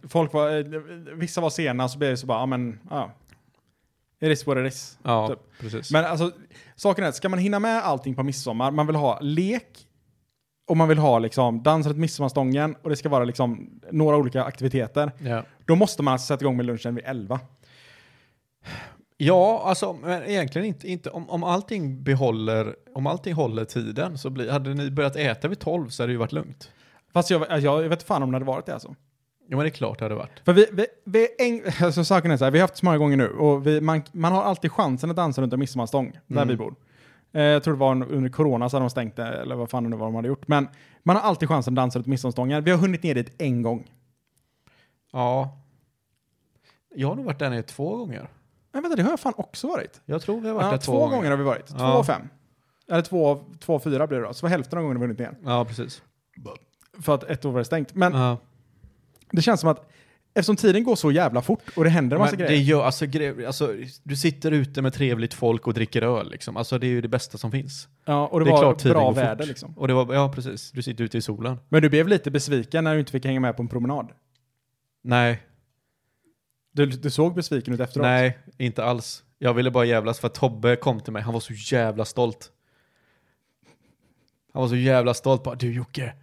Speaker 4: Folk var, eh, vissa var sena så blev det så bara, ja men, ja. It is what it is.
Speaker 3: Ja,
Speaker 4: Typ.
Speaker 3: precis.
Speaker 4: Men alltså, saken är att ska man hinna med allting på midsommar, man vill ha lek och man vill ha liksom dans runt midsommarstången och det ska vara liksom några olika aktiviteter.
Speaker 3: ja.
Speaker 4: Då måste man alltså sätta igång med lunchen vid elva.
Speaker 3: ja, alltså men egentligen inte, inte om, om allting behåller, om allting håller tiden så blir, hade ni börjat äta vid 12 så hade det ju varit lugnt.
Speaker 4: Fast jag, jag, jag vet fan om det hade varit det alltså.
Speaker 3: Jo men det är klart det hade varit.
Speaker 4: För vi, vi, vi, en, alltså, saken är så här, vi har haft så många gånger nu och vi, man, man har alltid chansen att dansa runt en midsommarstång där
Speaker 3: Mm.
Speaker 4: vi bor. Eh, jag tror det var en, under corona så hade de stängt det, eller vad fan det nu var de hade gjort. Men man har alltid chansen att dansa runt midsommarstången. Vi har hunnit ner dit en gång.
Speaker 3: Ja. Jag har nog varit där nere två gånger.
Speaker 4: Men vänta, det har jag fan också varit.
Speaker 3: Jag tror vi har varit
Speaker 4: Ja,
Speaker 3: där
Speaker 4: två, gånger. har vi varit. Två
Speaker 3: Ja.
Speaker 4: av fem. Eller två av, två av fyra blir det då. Så det var hälften av gångerna vi vunnit igen.
Speaker 3: Ja, precis.
Speaker 4: För att ett år var det stängt. Men
Speaker 3: Ja.
Speaker 4: det känns som att eftersom tiden går så jävla fort och det händer en massa
Speaker 3: Men det
Speaker 4: grejer.
Speaker 3: gör, alltså, gre- alltså, du sitter ute med trevligt folk och dricker öl liksom. Alltså det är ju det bästa som finns.
Speaker 4: Ja, och det,
Speaker 3: det är
Speaker 4: var
Speaker 3: klart tiden
Speaker 4: bra
Speaker 3: går fort.
Speaker 4: väder liksom.
Speaker 3: Och det var, ja precis, du sitter ute i solen.
Speaker 4: Men du blev lite besviken när du inte fick hänga med på en promenad.
Speaker 3: Nej,
Speaker 4: Du, du såg besviken ut efteråt.
Speaker 3: nej, inte alls. Jag ville bara jävlas för att Tobbe kom till mig, han var så jävla stolt. Han var så jävla stolt, bara du Jocke.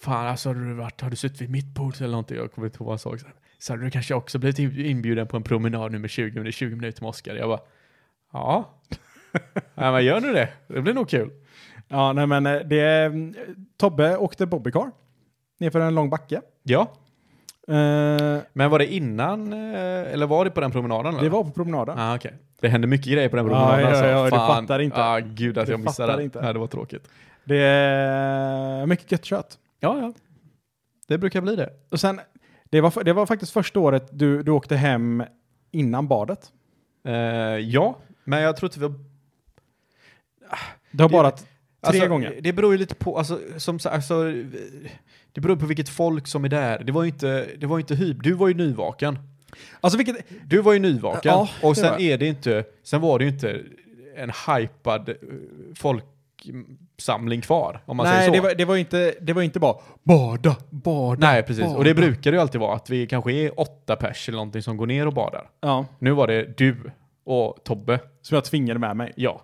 Speaker 3: Fan alltså, har du, varit, har du suttit vid mitt bord eller någonting? Jag kommer inte ihåg vad han sa. exakt. Så hade du kanske också blivit inb- inbjuden på en promenad nu med 20, under 20 minuter med Oskar. Jag bara, ja. Nej men gör nu det, det blir nog kul.
Speaker 4: Ja, nej men eh, det... Tobbe åkte bobbycar. Nerför en lång backe.
Speaker 3: Ja,
Speaker 4: Eh,
Speaker 3: men var det innan, eh, eller var det på den promenaden? eller?
Speaker 4: det var på promenaden.
Speaker 3: Ah, okej. Det hände mycket grejer på den
Speaker 4: Ja,
Speaker 3: promenaden.
Speaker 4: ja,
Speaker 3: alltså.
Speaker 4: ja, du
Speaker 3: Fan.
Speaker 4: fattar inte.
Speaker 3: Ah, gud att
Speaker 4: Du
Speaker 3: jag missade
Speaker 4: fattar
Speaker 3: det.
Speaker 4: inte.
Speaker 3: Nej, det var tråkigt.
Speaker 4: Det är mycket gött kött.
Speaker 3: Ja, ja. Det brukar bli det.
Speaker 4: Och sen, det var, det var faktiskt första året du, du åkte hem innan badet.
Speaker 3: Eh, ja, men jag tror inte vi har...
Speaker 4: Du har
Speaker 3: Det-
Speaker 4: badat tre
Speaker 3: alltså,
Speaker 4: gånger.
Speaker 3: Det beror ju lite på, alltså, som sagt, alltså, det beror på vilket folk som är där. Det var ju inte, det var ju inte hyb. Du var ju nyvaken.
Speaker 4: Alltså vilket...
Speaker 3: Du var ju nyvaken.
Speaker 4: Ja,
Speaker 3: och
Speaker 4: det
Speaker 3: sen
Speaker 4: var
Speaker 3: är det inte, sen var det ju inte en hypad eh, folksamling kvar, om man säger
Speaker 4: Nej,
Speaker 3: så.
Speaker 4: det var, det var inte, det var inte bara bada, bada.
Speaker 3: Nej, precis. Och det
Speaker 4: Bada.
Speaker 3: brukar det ju alltid vara, att vi kanske är åtta pers eller någonting som går ner och badar.
Speaker 4: Ja,
Speaker 3: Nu var det du och Tobbe.
Speaker 4: som jag tvingade med mig.
Speaker 3: Ja.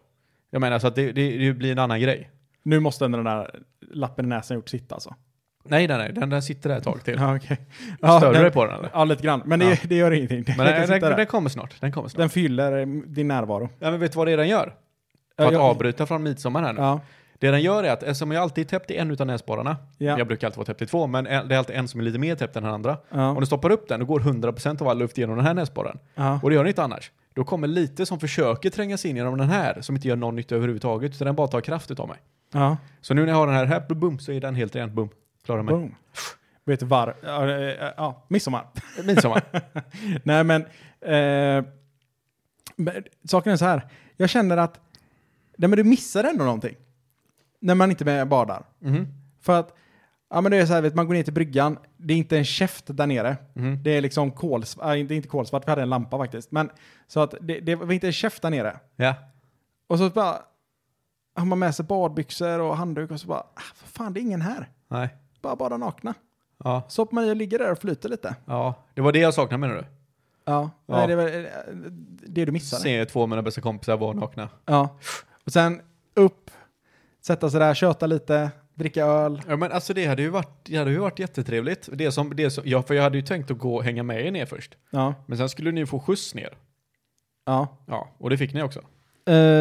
Speaker 3: Jag menar så att det, det, det blir en annan grej.
Speaker 4: Nu måste ändå den där lappen i näsan gjort sitt alltså.
Speaker 3: Nej, nej, nej. Den där sitter där ett tag till.
Speaker 4: Ja, okej.
Speaker 3: Stör du
Speaker 4: den-
Speaker 3: dig på den eller?
Speaker 4: Ja, lite grann. Men det,
Speaker 3: Ja.
Speaker 4: det gör ingenting. Det
Speaker 3: Men
Speaker 4: kan
Speaker 3: den,
Speaker 4: sitta
Speaker 3: den,
Speaker 4: där.
Speaker 3: den kommer snart. Den kommer snart.
Speaker 4: den fyller eh, din närvaro.
Speaker 3: Ja, men vet du vad det är den gör? För
Speaker 4: Ja,
Speaker 3: att
Speaker 4: jag-
Speaker 3: avbryta från midsommar här nu.
Speaker 4: Ja.
Speaker 3: Det den gör är att eftersom jag alltid är täppt i en utav näsborrarna.
Speaker 4: Ja.
Speaker 3: Jag brukar alltid vara täppt i två, men en- det är alltid en som är lite mer täppt än den andra.
Speaker 4: Ja.
Speaker 3: Om du stoppar upp den, då går 100% av all luft genom den här näsborren.
Speaker 4: Ja.
Speaker 3: Och det gör den inte annars. Då kommer lite som försöker tränga sig in genom den här, som inte gör någon nytta överhuvudtaget, utan den bara tar kraft utav mig.
Speaker 4: ja.
Speaker 3: Så nu när jag har den här, här boom, så är den helt ren. Boom. Klarar mig.
Speaker 4: Boom. Vet du var? Ja, eh, eh, ja, midsommar.
Speaker 3: Midsommar.
Speaker 4: Nej, men, eh, men saken är så här. Jag känner att nej, men du missar ändå någonting när man inte med badar.
Speaker 3: Mhm.
Speaker 4: För att ja, men det är så här, vet, man går ner till bryggan, det är inte en käft där nere.
Speaker 3: Mhm.
Speaker 4: Det är liksom kolsvart, äh, inte, inte kolsvart, vi hade en lampa faktiskt. Men så att det, det var inte en käft där nere.
Speaker 3: Ja.
Speaker 4: Och så bara har man med sig badbyxor och handduk och så bara, ah, för fan det är ingen här.
Speaker 3: Nej.
Speaker 4: Bara bada nakna.
Speaker 3: Ja.
Speaker 4: Så hoppar man i och ligger där och flyter lite.
Speaker 3: Ja. Det var det jag saknade menar du?
Speaker 4: Ja,
Speaker 3: Ja.
Speaker 4: Nej, det var eh, det du missade.
Speaker 3: Se två av mina bästa kompisar var nakna.
Speaker 4: Ja. Och sen upp, sätta sig där, köta lite, dricka öl.
Speaker 3: Ja men alltså det hade ju varit, det hade ju varit jättetrevligt. Det som, det som, ja, för jag hade ju tänkt att gå och hänga med er ner först.
Speaker 4: Ja.
Speaker 3: Men sen skulle ni ju få skjuts ner.
Speaker 4: Ja,
Speaker 3: Ja, och det fick ni också.
Speaker 4: Eh,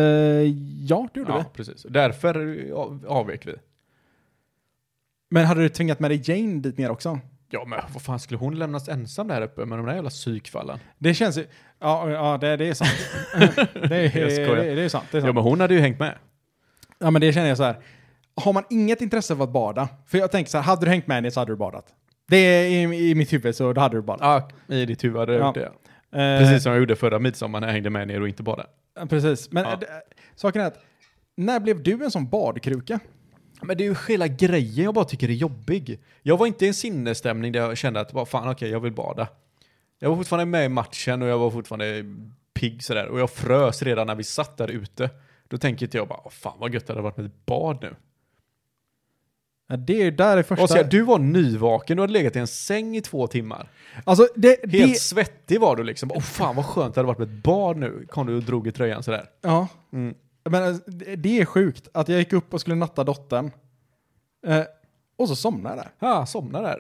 Speaker 4: ja det gjorde
Speaker 3: ja,
Speaker 4: vi.
Speaker 3: precis. Därför av- avvek vi.
Speaker 4: Men hade du tvingat med dig Jane dit ner också?
Speaker 3: Ja men vad fan skulle hon lämnas ensam där uppe med de där jävla psykfallen?
Speaker 4: Det känns ju... Ja, ja det, det är sant. det, är,
Speaker 3: Jag skojar.
Speaker 4: det, är- det är sant. Det är
Speaker 3: Ja
Speaker 4: sant.
Speaker 3: men hon hade ju hängt med.
Speaker 4: Ja, men det känner jag så här. Har man inget intresse av att bada? För jag tänker så här, hade du hängt med henne så hade du badat. Det är i, i mitt huvud så då hade du badat.
Speaker 3: Ja, i ditt huvud hade jag
Speaker 4: Ja.
Speaker 3: gjort det.
Speaker 4: Eh,
Speaker 3: Precis som jag gjorde förra midsommar när jag hängde med ner och inte bara.
Speaker 4: ja, precis. Men
Speaker 3: Ja.
Speaker 4: eh, det- saken är att, när blev du en sån badkruka?
Speaker 3: Men det är ju hela grejen jag bara tycker är jobbig. Jag var inte i en sinnesstämning där jag kände att bara, fan okej, jag vill bada. Jag var fortfarande med i matchen och jag var fortfarande pigg sådär. Och jag frös redan när vi satt där ute. Då tänker inte jag bara, "Åh, fan vad gött det hade varit med ett bad nu.
Speaker 4: Ja, det är ju där det första...
Speaker 3: Oskar, du var nyvaken, du hade legat i en säng i två timmar.
Speaker 4: Alltså, det,
Speaker 3: Helt
Speaker 4: det,
Speaker 3: svettig var du liksom. Åh fan vad skönt det hade varit med ett bad nu. Kom du och drog i tröjan sådär.
Speaker 4: Ja.
Speaker 3: Mm.
Speaker 4: Men alltså, det- det är sjukt att jag gick upp och skulle natta dottern. Eh, och så somnade jag där.
Speaker 3: Ja, ah, somna där.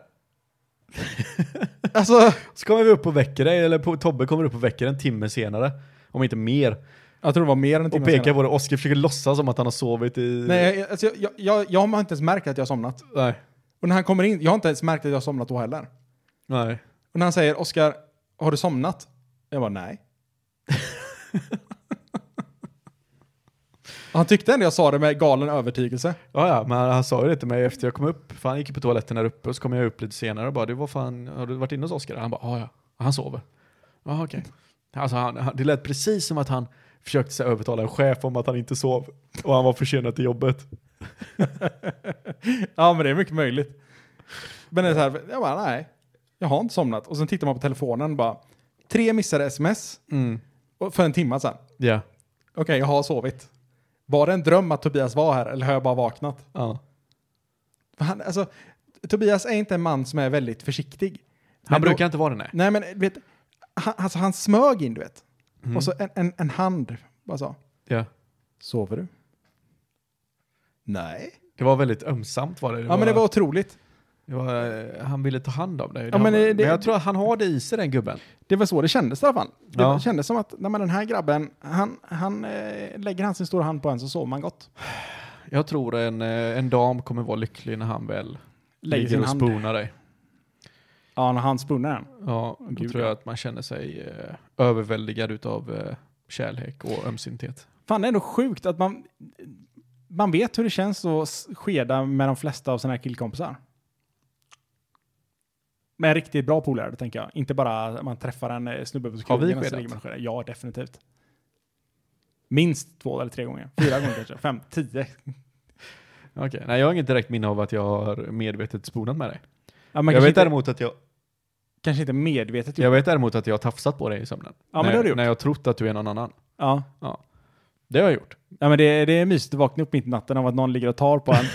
Speaker 4: Alltså,
Speaker 3: Så kommer vi upp och väcker dig, eller på, Tobbe kommer upp och väcker en timme senare. Om inte mer.
Speaker 4: jag tror det var mer än en
Speaker 3: Och
Speaker 4: timme
Speaker 3: pekar
Speaker 4: senare.
Speaker 3: på det. Oskar försöker låtsas som att han har sovit i...
Speaker 4: Nej, jag- alltså, jag, jag, jag har inte ens märkt att jag har somnat.
Speaker 3: Nej.
Speaker 4: Och när han kommer in, jag har inte ens märkt att jag har somnat då heller.
Speaker 3: Nej.
Speaker 4: Och när han säger Oskar, har du somnat? Jag bara nej. han tyckte ändå jag sa det med galen övertygelse.
Speaker 3: Ja, ja, men han sa ju det till mig efter jag kom upp. För han gick ju på toaletten där uppe och så kom jag upp lite senare och bara du vad fan, har du varit inne hos Oskar? Han bara ja, ja. Och Han sover. Ja, okej. Alltså han, han, det lät precis som att han försökte så här övertala en chef om att han inte sov och han var försenad till jobbet.
Speaker 4: Ja, men det är mycket möjligt. Men det är så här, jag bara nej, jag har inte somnat. Och sen tittar man på telefonen och bara, tre missade sms och för en timme sedan.
Speaker 3: Ja.
Speaker 4: Okej, jag har sovit. Var det en dröm att Tobias var här eller har jag bara vaknat?
Speaker 3: ja.
Speaker 4: För Han, alltså, Tobias är inte en man som är väldigt försiktig.
Speaker 3: Han
Speaker 4: Men då-
Speaker 3: brukar inte vara det nej.
Speaker 4: Nej, men du vet, han, alltså, han smög in, du vet.
Speaker 3: Mm.
Speaker 4: Och så en, en, en hand bara så.
Speaker 3: Ja.
Speaker 4: Sover du? Nej.
Speaker 3: Det var väldigt ömsamt var det. det
Speaker 4: Ja, men det var otroligt.
Speaker 3: det var, eh, han ville ta hand om dig. Det
Speaker 4: Ja,
Speaker 3: var-
Speaker 4: men, eh, det-
Speaker 3: men jag tror att han har det i sig den gubben.
Speaker 4: Det var så det kändes i alla fall. Det
Speaker 3: Ja.
Speaker 4: kändes som att nej, men den här grabben, han, han eh, lägger han sin stora hand på en så sover man gott.
Speaker 3: Jag tror en, eh, en dam kommer vara lycklig när han väl
Speaker 4: Lägger
Speaker 3: ligger
Speaker 4: sin
Speaker 3: och
Speaker 4: hand.
Speaker 3: spoonar dig.
Speaker 4: Ja, när han spoonar den.
Speaker 3: Ja, då
Speaker 4: Gud,
Speaker 3: tror
Speaker 4: ja.
Speaker 3: jag att man känner sig eh, överväldigad utav eh, kärlek och ömsinthet.
Speaker 4: Fan, det är ändå sjukt att man, man vet hur det känns att s- skeda med de flesta av sina killkompisar. Med riktigt bra polare, tänker jag. Inte bara att man träffar en eh, snubbe på
Speaker 3: vi
Speaker 4: krogen och så
Speaker 3: skedat?
Speaker 4: ligger man och skedar. Ja, definitivt. Minst två eller tre gånger. Fyra gånger kanske. Fem, tio.
Speaker 3: Okej, nej jag har inget direkt minne av att jag har medvetet sponat med dig.
Speaker 4: Ja, man
Speaker 3: jag,
Speaker 4: kanske,
Speaker 3: vet
Speaker 4: inte,
Speaker 3: däremot att jag,
Speaker 4: kanske inte medvetet. typ. gjort-
Speaker 3: jag vet däremot att jag har tafsat på dig i sömnen.
Speaker 4: Ja, men
Speaker 3: när,
Speaker 4: det har du gjort.
Speaker 3: när jag har trott att du är någon annan.
Speaker 4: Ja.
Speaker 3: Det har jag gjort.
Speaker 4: Ja, men det, det är mysigt att vakna upp mitt i natten av att någon ligger och tar på en.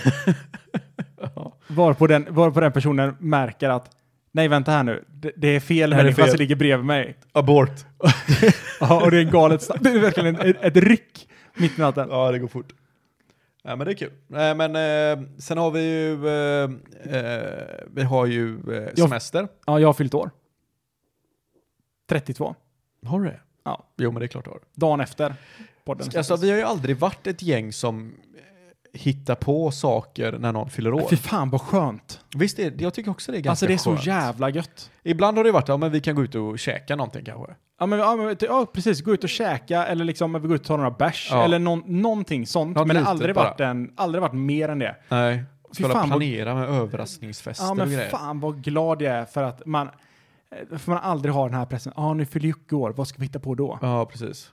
Speaker 4: varpå, den, varpå den personen märker att nej, vänta här nu, det, det är fel
Speaker 3: här är
Speaker 4: människa
Speaker 3: fel.
Speaker 4: som ligger bredvid mig.
Speaker 3: Abort.
Speaker 4: Ja, och det är en galet snabb- Det är verkligen ett, ett ryck mitt i natten.
Speaker 3: Ja, det går fort. Ja, men det är kul. Nej, men eh, sen har vi ju, eh, eh, vi har ju eh,
Speaker 4: Jag-
Speaker 3: semester.
Speaker 4: Ja, jag har fyllt år. 32.
Speaker 3: Har du det?
Speaker 4: Ja.
Speaker 3: Jo, men det är klart du har.
Speaker 4: Dagen efter podden.
Speaker 3: Alltså, vi har ju aldrig varit ett gäng som eh, hittar på saker när någon fyller år.
Speaker 4: Fy fan vad skönt.
Speaker 3: Visst, är, jag tycker också det är ganska
Speaker 4: Alltså det är så
Speaker 3: skönt.
Speaker 4: jävla gött.
Speaker 3: Ibland har det varit, ja men vi kan gå ut och käka någonting kanske.
Speaker 4: Ja, men, ja, men ja, precis. Gå ut och käka eller liksom vi går ut och tar några bärs
Speaker 3: Ja.
Speaker 4: eller någon, någonting sånt. men
Speaker 3: Något
Speaker 4: det
Speaker 3: litet
Speaker 4: har aldrig varit, en, aldrig varit mer än det.
Speaker 3: Nej.
Speaker 4: Fy
Speaker 3: Skulle
Speaker 4: fan, vad-
Speaker 3: planera med överraskningsfester
Speaker 4: Ja,
Speaker 3: och
Speaker 4: men
Speaker 3: grejer.
Speaker 4: fan vad glad jag är för att man, eh, för man aldrig har den här pressen. Ja, ah, nu fyller Jocke år, vad ska vi hitta på då? Ja,
Speaker 3: Ja, precis.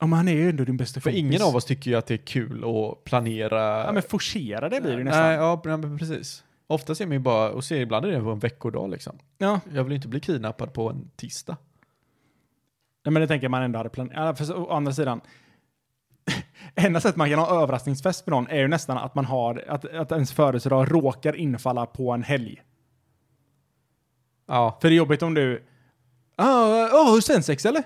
Speaker 4: men han är ju ändå din bästa
Speaker 3: För
Speaker 4: kompis.
Speaker 3: ingen av oss tycker ju att det är kul att planera.
Speaker 4: Ja, men forcera det blir det ju Typ nästan.
Speaker 3: Nej, ja, nej, men precis. Ofta ser man ju bara, och ser ibland är det på en veckodag liksom.
Speaker 4: Ja.
Speaker 3: Jag vill ju inte bli kidnappad på en tisdag.
Speaker 4: Nej, men det tänker jag man ändå hade planerat. Ja, för så- å andra sidan, enda sättet man kan ha överraskningsfest med någon är ju nästan att man har, att, att ens födelsedag råkar infalla på en helg.
Speaker 3: Ja.
Speaker 4: För det är jobbigt om du, ah, åh, oh, sensex eller?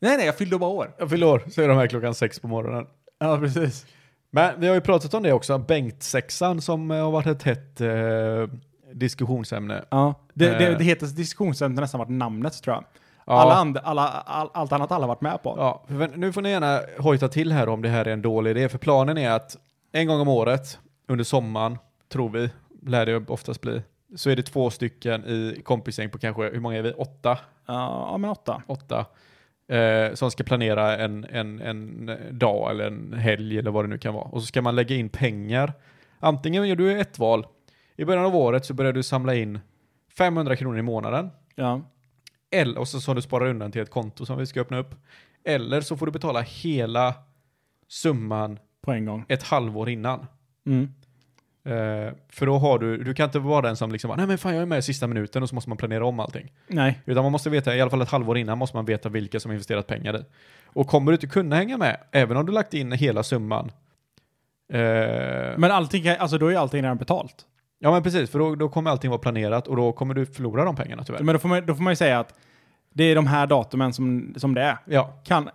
Speaker 4: Nej, nej, jag fyllde bara år.
Speaker 3: Jag fyller år, så är de här klockan sex på morgonen.
Speaker 4: Ja, precis.
Speaker 3: Men vi har ju pratat om det också, Bengt-sexan som eh, har varit ett hett eh, diskussionsämne.
Speaker 4: Ja, det, det,
Speaker 3: Eh.
Speaker 4: det hetaste diskussionsämnet har nästan varit namnet tror jag.
Speaker 3: Ja.
Speaker 4: Alla and, alla, all, allt annat alla varit med på.
Speaker 3: Ja, för nu får ni gärna hojta till här om det här är en dålig idé, för planen är att en gång om året, under sommaren, tror vi, lär det oftast bli, så är det två stycken i kompisgäng på kanske, hur många är vi? Åtta?
Speaker 4: Ja, men åtta.
Speaker 3: Åtta. Eh, som ska planera en, en, en dag eller en helg eller vad det nu kan vara. Och så ska man lägga in pengar. Antingen gör du ett val. I början av året så börjar du samla in 500 kronor i månaden.
Speaker 4: Ja.
Speaker 3: Eller, och så, så du sparar undan till ett konto som vi ska öppna upp. Eller så får du betala hela summan
Speaker 4: På en gång.
Speaker 3: ett halvår innan.
Speaker 4: Mm.
Speaker 3: Eh, för då har du, du kan inte vara den som liksom, bara, nej men fan jag är med i sista minuten och så måste man planera om allting.
Speaker 4: Nej.
Speaker 3: Utan man måste veta, i alla fall ett halvår innan måste man veta vilka som investerat pengar i. Och kommer du inte kunna hänga med, även om du lagt in hela summan. eh,
Speaker 4: Men allting, kan- alltså då är ju allting redan betalt.
Speaker 3: ja men precis, för då, då kommer allting vara planerat och då kommer du förlora de pengarna tyvärr.
Speaker 4: Men då får man, då får man ju säga att det är de här datumen som, som det är.
Speaker 3: Ja,
Speaker 4: Kan,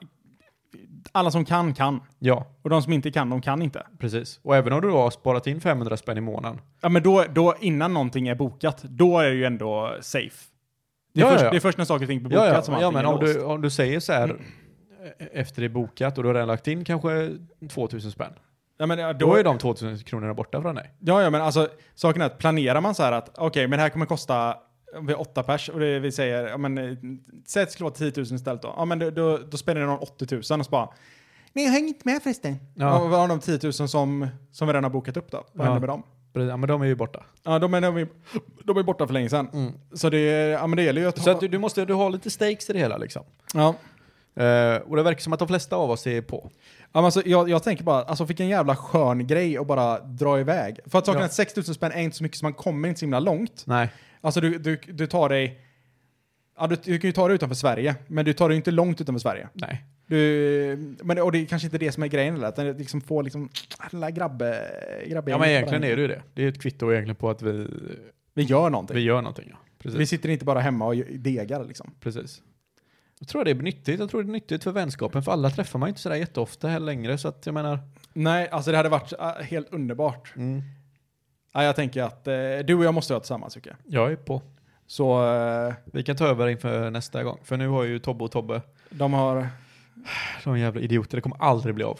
Speaker 4: alla som kan, kan.
Speaker 3: ja,
Speaker 4: Och de som inte kan, de kan inte.
Speaker 3: precis. Och även om du då har sparat in 500 spänn i månaden,
Speaker 4: Ja, men då, då innan någonting är bokat, då är det ju ändå safe. Det är,
Speaker 3: Ja, ja,
Speaker 4: först,
Speaker 3: ja.
Speaker 4: det är först när saker och ting blir
Speaker 3: Ja,
Speaker 4: bokat
Speaker 3: ja,
Speaker 4: som
Speaker 3: ja
Speaker 4: allting
Speaker 3: men
Speaker 4: är
Speaker 3: om du,
Speaker 4: låst. Mm.
Speaker 3: om du säger så här eh, efter det är bokat och du har redan lagt in kanske 2000 spänn.
Speaker 4: Ja, men, ja,
Speaker 3: Då, är de 2000 kronorna borta från dig.
Speaker 4: Ja, ja, men alltså saken är att planerar man så här att okej, men det här kommer kosta om vi är åtta pers och det, vi säger, ja men eh, säg att det skulle vara 10 000 istället då. Ja, men då, då, då spenderar någon 80 000 och så bara, nej jag hänger inte med förresten.
Speaker 3: Ja.
Speaker 4: Ja. Och vad har de 10 000 som, som vi redan har bokat upp då? Vad
Speaker 3: Ja.
Speaker 4: händer med dem?
Speaker 3: Ja, men de är ju borta.
Speaker 4: Ja, de är, de är, de är borta för länge sedan. Mm. Så det, är- ja, men det gäller ju att...
Speaker 3: Så att du, du måste du har lite stakes i det hela liksom.
Speaker 4: ja.
Speaker 3: Eh, och det verkar som att de flesta av oss är på.
Speaker 4: Ja, men alltså, jag, jag tänker bara, alltså vilken jävla skön grej att bara dra iväg. För att saken
Speaker 3: Ja.
Speaker 4: är att 6 000 spänn är inte så mycket så man kommer inte så himla långt.
Speaker 3: Nej.
Speaker 4: Alltså du, du, du tar dig, ja, du, du kan ju ta dig utanför Sverige, men du tar dig ju inte långt utanför Sverige.
Speaker 3: Nej.
Speaker 4: Du, men, och det är kanske inte det som är grejen eller att den liksom får liksom alla grabbe, grabbe
Speaker 3: Ja men egentligen är det ju det. Det är ett kvitto egentligen på att vi,
Speaker 4: Vi gör någonting.
Speaker 3: vi gör någonting. Ja. Precis.
Speaker 4: Vi sitter inte bara hemma och degar liksom.
Speaker 3: Precis. Jag tror det är nyttigt. Jag tror det är nyttigt för vänskapen. För alla träffar man ju inte sådär jätteofta heller längre. Så att jag menar.
Speaker 4: Nej, alltså det hade varit äh, helt underbart.
Speaker 3: Mm.
Speaker 4: Ja, jag tänker att eh, du och jag måste vara tillsammans, Jocke.
Speaker 3: Jag är på.
Speaker 4: Så eh,
Speaker 3: Vi kan ta över inför nästa gång. För nu har ju Tobbe och Tobbe,
Speaker 4: de har...
Speaker 3: de jävla idioter, det kommer aldrig bli av.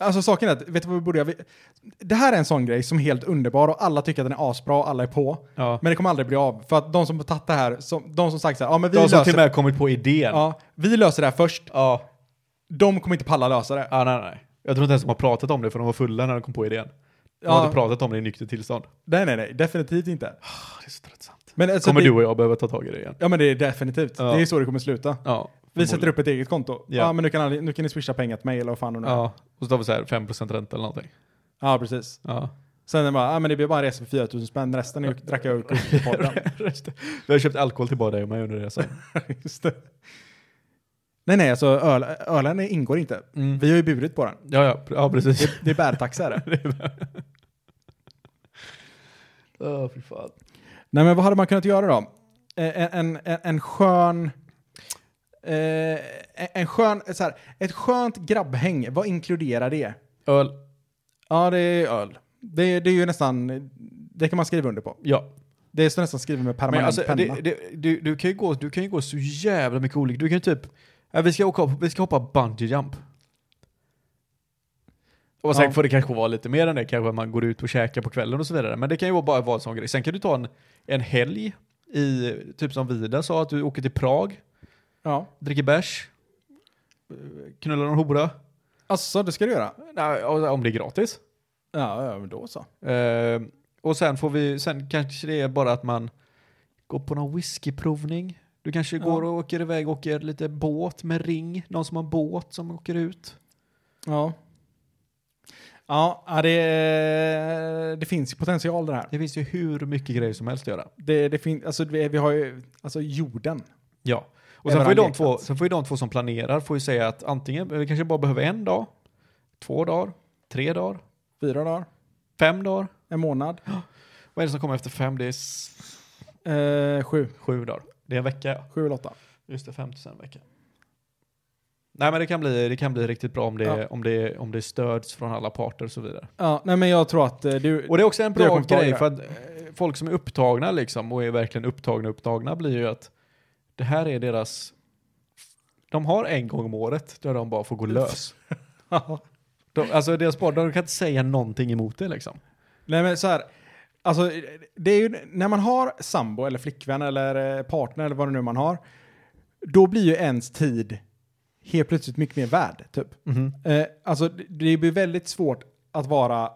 Speaker 4: Alltså saken är att, vet du vad vi borde göra? Vi- Det här är en sån grej som är helt underbar och alla tycker att den är asbra och alla är på.
Speaker 3: Ja.
Speaker 4: Men det kommer aldrig bli av. För att de som har tagit det här, som, de som sagt så här, ja men vi,
Speaker 3: De som
Speaker 4: löser,
Speaker 3: till och med kommit på idén.
Speaker 4: ja, vi löser det här först.
Speaker 3: ja.
Speaker 4: De kommer inte palla lösa det.
Speaker 3: Ja, nej, nej. Jag tror inte ens de har pratat om det för de var fulla när de kom på idén. De
Speaker 4: Ja.
Speaker 3: har inte pratat om det i nyktert tillstånd.
Speaker 4: Nej, nej, nej, definitivt inte.
Speaker 3: Ah, Det är så tröttsamt.
Speaker 4: Men alltså,
Speaker 3: Kommer
Speaker 4: det,
Speaker 3: du och jag behöva ta tag i det igen?
Speaker 4: Ja, men det är definitivt.
Speaker 3: Ja.
Speaker 4: Det är så det kommer sluta.
Speaker 3: Ja.
Speaker 4: Vi sätter upp ett eget konto.
Speaker 3: Ja.
Speaker 4: Ja, men nu kan, aldrig- nu kan ni swisha pengar till mig eller vad fan det nu är.
Speaker 3: Ja. Och så tar vi så här 5% ränta eller någonting.
Speaker 4: Ja, precis.
Speaker 3: Ja.
Speaker 4: Sen är det bara, ja men det blir bara en resa för 4000 spänn, resten är, drack jag ur kokpodden.
Speaker 3: Vi har köpt alkohol till bara dig och mig under resan.
Speaker 4: Just det. Nej, nej, alltså öl, ölen ingår inte.
Speaker 3: Mm.
Speaker 4: Vi har ju burit på den.
Speaker 3: Ja, ja, pr- ja precis.
Speaker 4: Det, det är bärtaxa är det.
Speaker 3: Åh, fy fan.
Speaker 4: Nej, men vad hade man kunnat göra då? Eh, En, en, en, en skön... Eh, en skön, så här, ett skönt grabbhäng, vad inkluderar det?
Speaker 3: Öl.
Speaker 4: Ja, det är öl. Det, det är ju nästan, det kan man skriva under på.
Speaker 3: Ja.
Speaker 4: Det står nästan skrivet med
Speaker 3: Men
Speaker 4: permanent
Speaker 3: alltså,
Speaker 4: penna.
Speaker 3: det, det, du, du, kan ju gå, du kan ju gå så jävla mycket olika. Du kan ju typ, ja, vi, ska åka, upp- vi ska hoppa bungee jump. Och sen
Speaker 4: Ja.
Speaker 3: får det kanske vara lite mer än det, kanske att man går ut och käkar på kvällen och så vidare. Men det kan ju vara bara vara en sån grej. Sen kan du ta en, en helg i, typ som Vida sa, att du åker till Prag,
Speaker 4: Ja.
Speaker 3: dricker bärs, eh, knullar någon hora.
Speaker 4: Alltså, det ska du göra?
Speaker 3: Nej, om det är gratis.
Speaker 4: Ja, ja, men då så.
Speaker 3: Eh, och sen får vi, sen kanske det är bara att man går på någon whiskyprovning. Du kanske
Speaker 4: Ja.
Speaker 3: går och åker iväg och åker lite båt med ring. Någon som har en båt som åker ut.
Speaker 4: Ja. Ja, ja, det, det finns ju potential det här.
Speaker 3: Det finns ju hur mycket grejer som helst att göra.
Speaker 4: Det, det finns, alltså vi, vi har ju, alltså jorden.
Speaker 3: Ja. Och
Speaker 4: Även
Speaker 3: sen får, ju de
Speaker 4: lekplats.
Speaker 3: två, sen får ju de två som planerar får ju säga att antingen, vi kanske bara behöver en dag, två dagar, tre dagar,
Speaker 4: Fyra dagar,
Speaker 3: fem dagar.
Speaker 4: en månad,
Speaker 3: Vad är det som kommer efter fem? Det är s-
Speaker 4: eh, sju,
Speaker 3: sju dagar. Det är en vecka ja.
Speaker 4: sju eller åtta.
Speaker 3: Just det, 50 sen vecka. Nej men det kan bli, det kan bli riktigt bra om det,
Speaker 4: Ja.
Speaker 3: om, det, om det stöds från alla parter och så vidare.
Speaker 4: Ja, nej men jag tror att eh, du,
Speaker 3: Och det är också en
Speaker 4: Det har
Speaker 3: bra
Speaker 4: kommit tag i
Speaker 3: grej
Speaker 4: det.
Speaker 3: för att eh, folk som är upptagna liksom och är verkligen upptagna upptagna blir ju att det här är deras... De har en gång om året där de bara får gå lös. De, alltså deras partner, de kan inte säga någonting emot det liksom.
Speaker 4: nej men så här, alltså det är ju, när man har sambo eller flickvän eller eh, partner eller vad det nu man har, då blir ju ens tid helt plötsligt mycket mer värd, typ. Eh, alltså det- det blir väldigt svårt att vara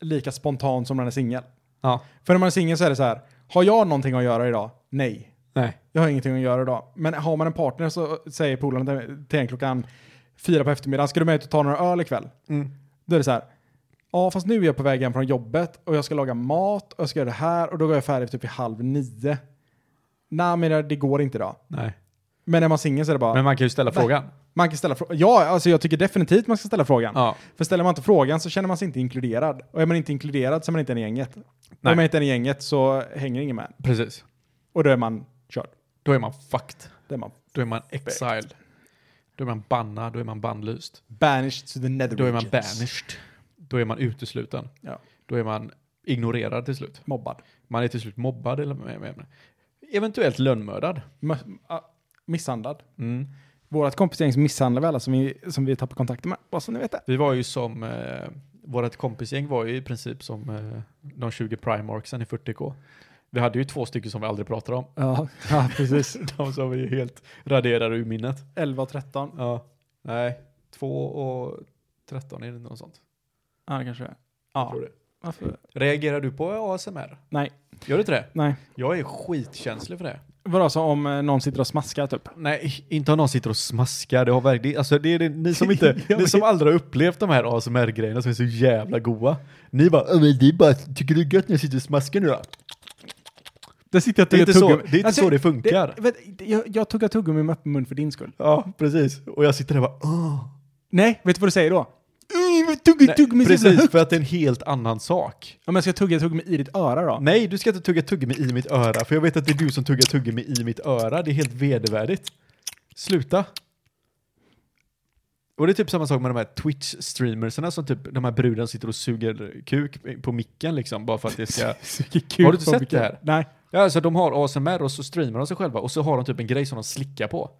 Speaker 4: lika spontan som när man är singel.
Speaker 3: Ja.
Speaker 4: För när man är singel så är det så här, har jag någonting att göra idag? Nej,
Speaker 3: Nej.
Speaker 4: jag har ingenting att göra idag. Men har man en partner så säger polaren till- till en klockan fyra på eftermiddagen, ska du med ut och ta några öl ikväll?
Speaker 3: Mm.
Speaker 4: Då är det så här, ja fast nu är jag på väg hem från jobbet och jag ska laga mat och jag ska göra det här och då går jag färdig typ vid halv nio. Nej men det- det går inte idag.
Speaker 3: Nej.
Speaker 4: Men när man är singel så är det bara,
Speaker 3: Men man kan ju ställa
Speaker 4: Nej.
Speaker 3: frågan.
Speaker 4: man kan ställa frågan. Ja, alltså jag tycker definitivt man ska ställa frågan.
Speaker 3: Ja.
Speaker 4: För ställer man inte frågan så känner man sig inte inkluderad. Och är man inte inkluderad så är man inte en i gänget. Och
Speaker 3: Nej.
Speaker 4: är man inte en i gänget så hänger ingen med.
Speaker 3: Precis.
Speaker 4: Och då är man körd.
Speaker 3: Då är man fucked.
Speaker 4: Då är man
Speaker 3: Då är man exiled. Då är man bannad, då är man bannlyst.
Speaker 4: banished to the nether
Speaker 3: Då är man
Speaker 4: regions.
Speaker 3: banished. Då är man utesluten.
Speaker 4: Ja.
Speaker 3: Då är man ignorerad till slut.
Speaker 4: Mobbad.
Speaker 3: Man är till slut mobbad eller med, med, med. eventuellt lönnmördad. Mm.
Speaker 4: M- ah, misshandlad. Vårat kompisgäng misshandlar vi alla som vi, som vi tappar kontakten med. Bara så ni vet det.
Speaker 3: Vi var ju som, eh, vårt kompisgäng var ju i princip som eh, de 20 primarksen i 40K. Vi hade ju två stycken som vi aldrig pratade om.
Speaker 4: Ja, precis.
Speaker 3: De som vi helt raderade ur minnet.
Speaker 4: 11 och 13.
Speaker 3: Ja. Nej, 2 och 13 är det något sånt.
Speaker 4: Ja, det kanske är.
Speaker 3: Jag
Speaker 4: Ja,
Speaker 3: tror det.
Speaker 4: Varför?
Speaker 3: Reagerar du på ASMR?
Speaker 4: Nej,
Speaker 3: Gör du inte det?
Speaker 4: nej.
Speaker 3: Jag är skitkänslig för det.
Speaker 4: Vadå, så om eh, någon sitter och smaskar typ?
Speaker 3: Nej, inte om någon sitter och smaskar. Det har verkligen, alltså det är det, ni som inte, ni som aldrig har upplevt de här ASMR-grejerna som är så jävla goa. Ni bara, "Ja, men det är bara, tycker du det är gött när jag sitter och smaskar nu då?
Speaker 4: Det sitter jag
Speaker 3: Det är inte så det, är inte så det funkar.
Speaker 4: Alltså, Det, vet, jag, jag tuggar tuggummi med öppen mun för din skull.
Speaker 3: ja, precis. Och jag sitter där och bara, "Åh."
Speaker 4: Nej, vet du vad du säger då? Mm, Tugga tuggummi så jävla
Speaker 3: Precis,
Speaker 4: högt.
Speaker 3: för att det är en helt annan sak.
Speaker 4: Ja, men ska jag tugga tuggummi i ditt öra då?
Speaker 3: Nej, du ska inte tugga tuggummi i mitt öra, för jag vet att det är du som tuggar tuggummi i mitt öra. Det är helt vedervärdigt. Sluta. Och det är typ samma sak med de här Twitch-streamerserna som typ de här bruden sitter och suger kuk på micken liksom, bara för att det ska...
Speaker 4: Suger kuk
Speaker 3: Har du inte
Speaker 4: på
Speaker 3: sett
Speaker 4: mycket.
Speaker 3: det här?
Speaker 4: Nej.
Speaker 3: Ja, alltså de har ASMR och så streamar de sig själva och så har de typ en grej som de slickar på.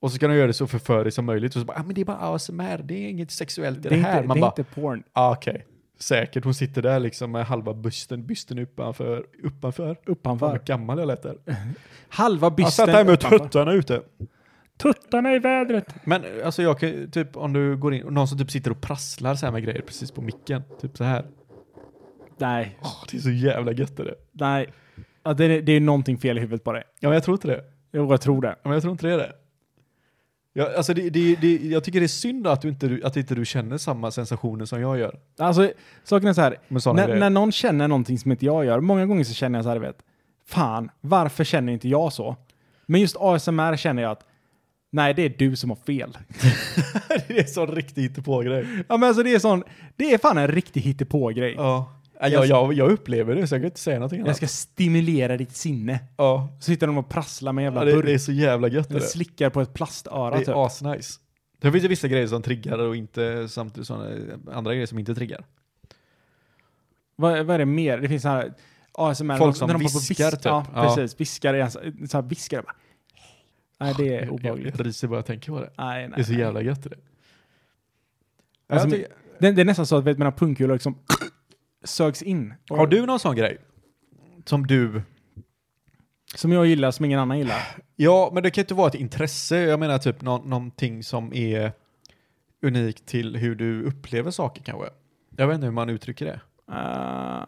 Speaker 3: Och så ska de göra det så förföriskt som möjligt och så bara, ah, men det är bara ASMR, det är inget sexuellt i det,
Speaker 4: är
Speaker 3: här.
Speaker 4: inte,
Speaker 3: Man
Speaker 4: det
Speaker 3: bara,
Speaker 4: är inte porn.
Speaker 3: ah, okej. Säkert, hon sitter där liksom med halva bysten, bysten uppanför, uppanför.
Speaker 4: Uppanför.
Speaker 3: Vad gammal jag lät där.
Speaker 4: Halva bysten
Speaker 3: Han satt där med
Speaker 4: uppanför.
Speaker 3: tuttarna ute.
Speaker 4: tuttarna i vädret.
Speaker 3: Men alltså jag kan ju- typ om du går in, och någon som typ sitter och prasslar så här med grejer precis på micken. Typ så här.
Speaker 4: Nej,
Speaker 3: Åh, det är så jävla gött är det.
Speaker 4: nej. Ja, det, är- det är någonting fel i huvudet på dig.
Speaker 3: Ja men jag tror inte det.
Speaker 4: Jo, jag tror det.
Speaker 3: Ja, men jag tror inte det är det. Ja, alltså det, det, det. Jag tycker det är synd att, du inte, att inte du känner samma sensationer som jag gör.
Speaker 4: Alltså, saken är så här.
Speaker 3: Med sådana
Speaker 4: När,
Speaker 3: grejer.
Speaker 4: när någon känner någonting som inte jag gör, många gånger så känner jag så här, vet, fan, varför känner inte jag så? Men just ASMR känner jag att, nej, det är du som har fel.
Speaker 3: det är så riktigt på grej.
Speaker 4: Ja, men alltså det är sån, det är fan en riktig hittepågrej.
Speaker 3: Ja. Ja, Jag, jag, jag upplever det så jag kan inte säga någonting
Speaker 4: Jag
Speaker 3: annat.
Speaker 4: ska stimulera ditt sinne.
Speaker 3: ja.
Speaker 4: Så sitter de och prasslar med en jävla
Speaker 3: Ja, det, det
Speaker 4: burk.
Speaker 3: är så jävla gött. är
Speaker 4: Eller
Speaker 3: det.
Speaker 4: slickar på ett plastöra
Speaker 3: Det
Speaker 4: typ.
Speaker 3: är asnice. Det finns ju vissa grejer som triggar och inte samtidigt såna, andra grejer som inte triggar.
Speaker 4: Vad, vad är det mer? Det finns så här ASMR.
Speaker 3: Folk som
Speaker 4: när de
Speaker 3: viskar, typ.
Speaker 4: Ja,
Speaker 3: Ja.
Speaker 4: precis. Viskar i ens, så här viskar. Bara. Nej, det är obehagligt.
Speaker 3: Jag ryser bara jag tänker på det.
Speaker 4: Nej, nej.
Speaker 3: Det är så
Speaker 4: nej.
Speaker 3: jävla gött är det.
Speaker 4: Alltså,
Speaker 3: Jag tycker-
Speaker 4: det, det är nästan så att vet, mina pungkulor liksom sögs in. Och-
Speaker 3: har du någon sån grej? Som du
Speaker 4: Som jag gillar, som ingen annan gillar.
Speaker 3: Ja, men det kan ju inte vara ett intresse. Jag menar typ nå- någonting som är unikt till hur du upplever saker kanske. Jag vet inte hur man uttrycker det.
Speaker 4: Eh,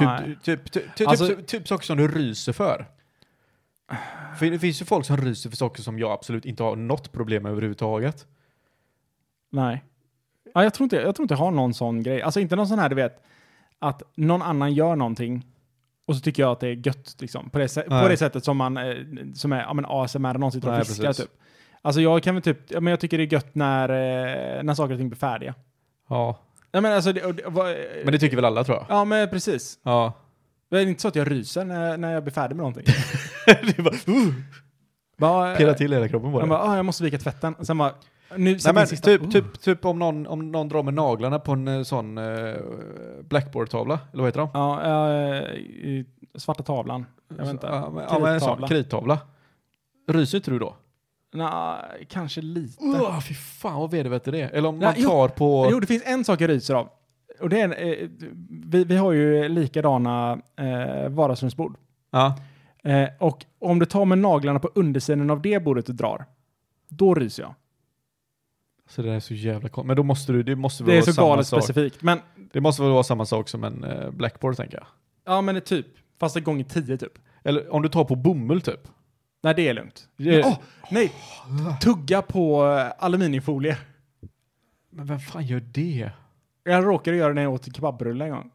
Speaker 4: nej.
Speaker 3: Typ, typ, typ, typ,
Speaker 4: Alltså-
Speaker 3: typ, typ saker som du ryser för. För det finns ju folk som ryser för saker som jag absolut inte har något problem med överhuvudtaget.
Speaker 4: nej. Ja, jag, tror inte, jag tror inte jag har någon sån grej. Alltså inte någon sån här, du vet, att någon annan gör någonting och så tycker jag att det är gött liksom. På det, sä-
Speaker 3: Nej.
Speaker 4: på det sättet som man, eh, som är, ja men ASMR, någon sitter och
Speaker 3: Nej,
Speaker 4: viskar
Speaker 3: precis.
Speaker 4: typ. Alltså jag kan väl typ, ja, men jag tycker det är gött när, eh, när saker och ting blir färdiga.
Speaker 3: Ja.
Speaker 4: Ja men alltså, det, och det, vad, eh,
Speaker 3: Men det tycker väl alla tror jag.
Speaker 4: ja men precis.
Speaker 3: Ja.
Speaker 4: Det är inte så att jag ryser när, när jag blir färdig med någonting.
Speaker 3: det är bara, uh,
Speaker 4: Bara,
Speaker 3: pillar till hela kroppen på
Speaker 4: Han
Speaker 3: det.
Speaker 4: bara, ah, jag måste vika tvätten. Och sen bara, nu
Speaker 3: Nej,
Speaker 4: sätter
Speaker 3: men
Speaker 4: jag sista. uh.
Speaker 3: typ, typ, typ om någon, om någon drar med naglarna på en eh, sån eh, blackboard-tavla, eller vad heter de?
Speaker 4: Ja, eh, i svarta tavlan. Jag vet inte.
Speaker 3: Ja, men, ja, men en sån
Speaker 4: Krittavla.
Speaker 3: krittavla. Ryser inte du då?
Speaker 4: Nej, kanske lite.
Speaker 3: Uh, fy fan vad vedervärdigt det är. Eller om
Speaker 4: Ja,
Speaker 3: man
Speaker 4: jo.
Speaker 3: tar på...
Speaker 4: Jo, det finns en sak jag ryser av. Och det är, en, eh, vi, vi har ju likadana eh, vardagsrumsbord.
Speaker 3: Ja.
Speaker 4: Eh, och om du tar med naglarna på undersidan av det bordet du drar, då ryser jag.
Speaker 3: Så det där är så jävla konstigt. Men då måste du, det måste väl
Speaker 4: Det är
Speaker 3: vara
Speaker 4: så
Speaker 3: samma
Speaker 4: galet
Speaker 3: sak.
Speaker 4: specifikt. Men,
Speaker 3: Det måste väl vara samma sak som en eh, blackboard tänker jag.
Speaker 4: ja men det är typ. Fast det är gånger tio typ.
Speaker 3: Eller om du tar på bomull typ.
Speaker 4: Nej, det är lugnt.
Speaker 3: Det-
Speaker 4: Åh, nej! Tugga på eh, aluminiumfolie.
Speaker 3: Men vem fan gör det?
Speaker 4: Jag råkade göra det när jag åt kebabrulle en gång.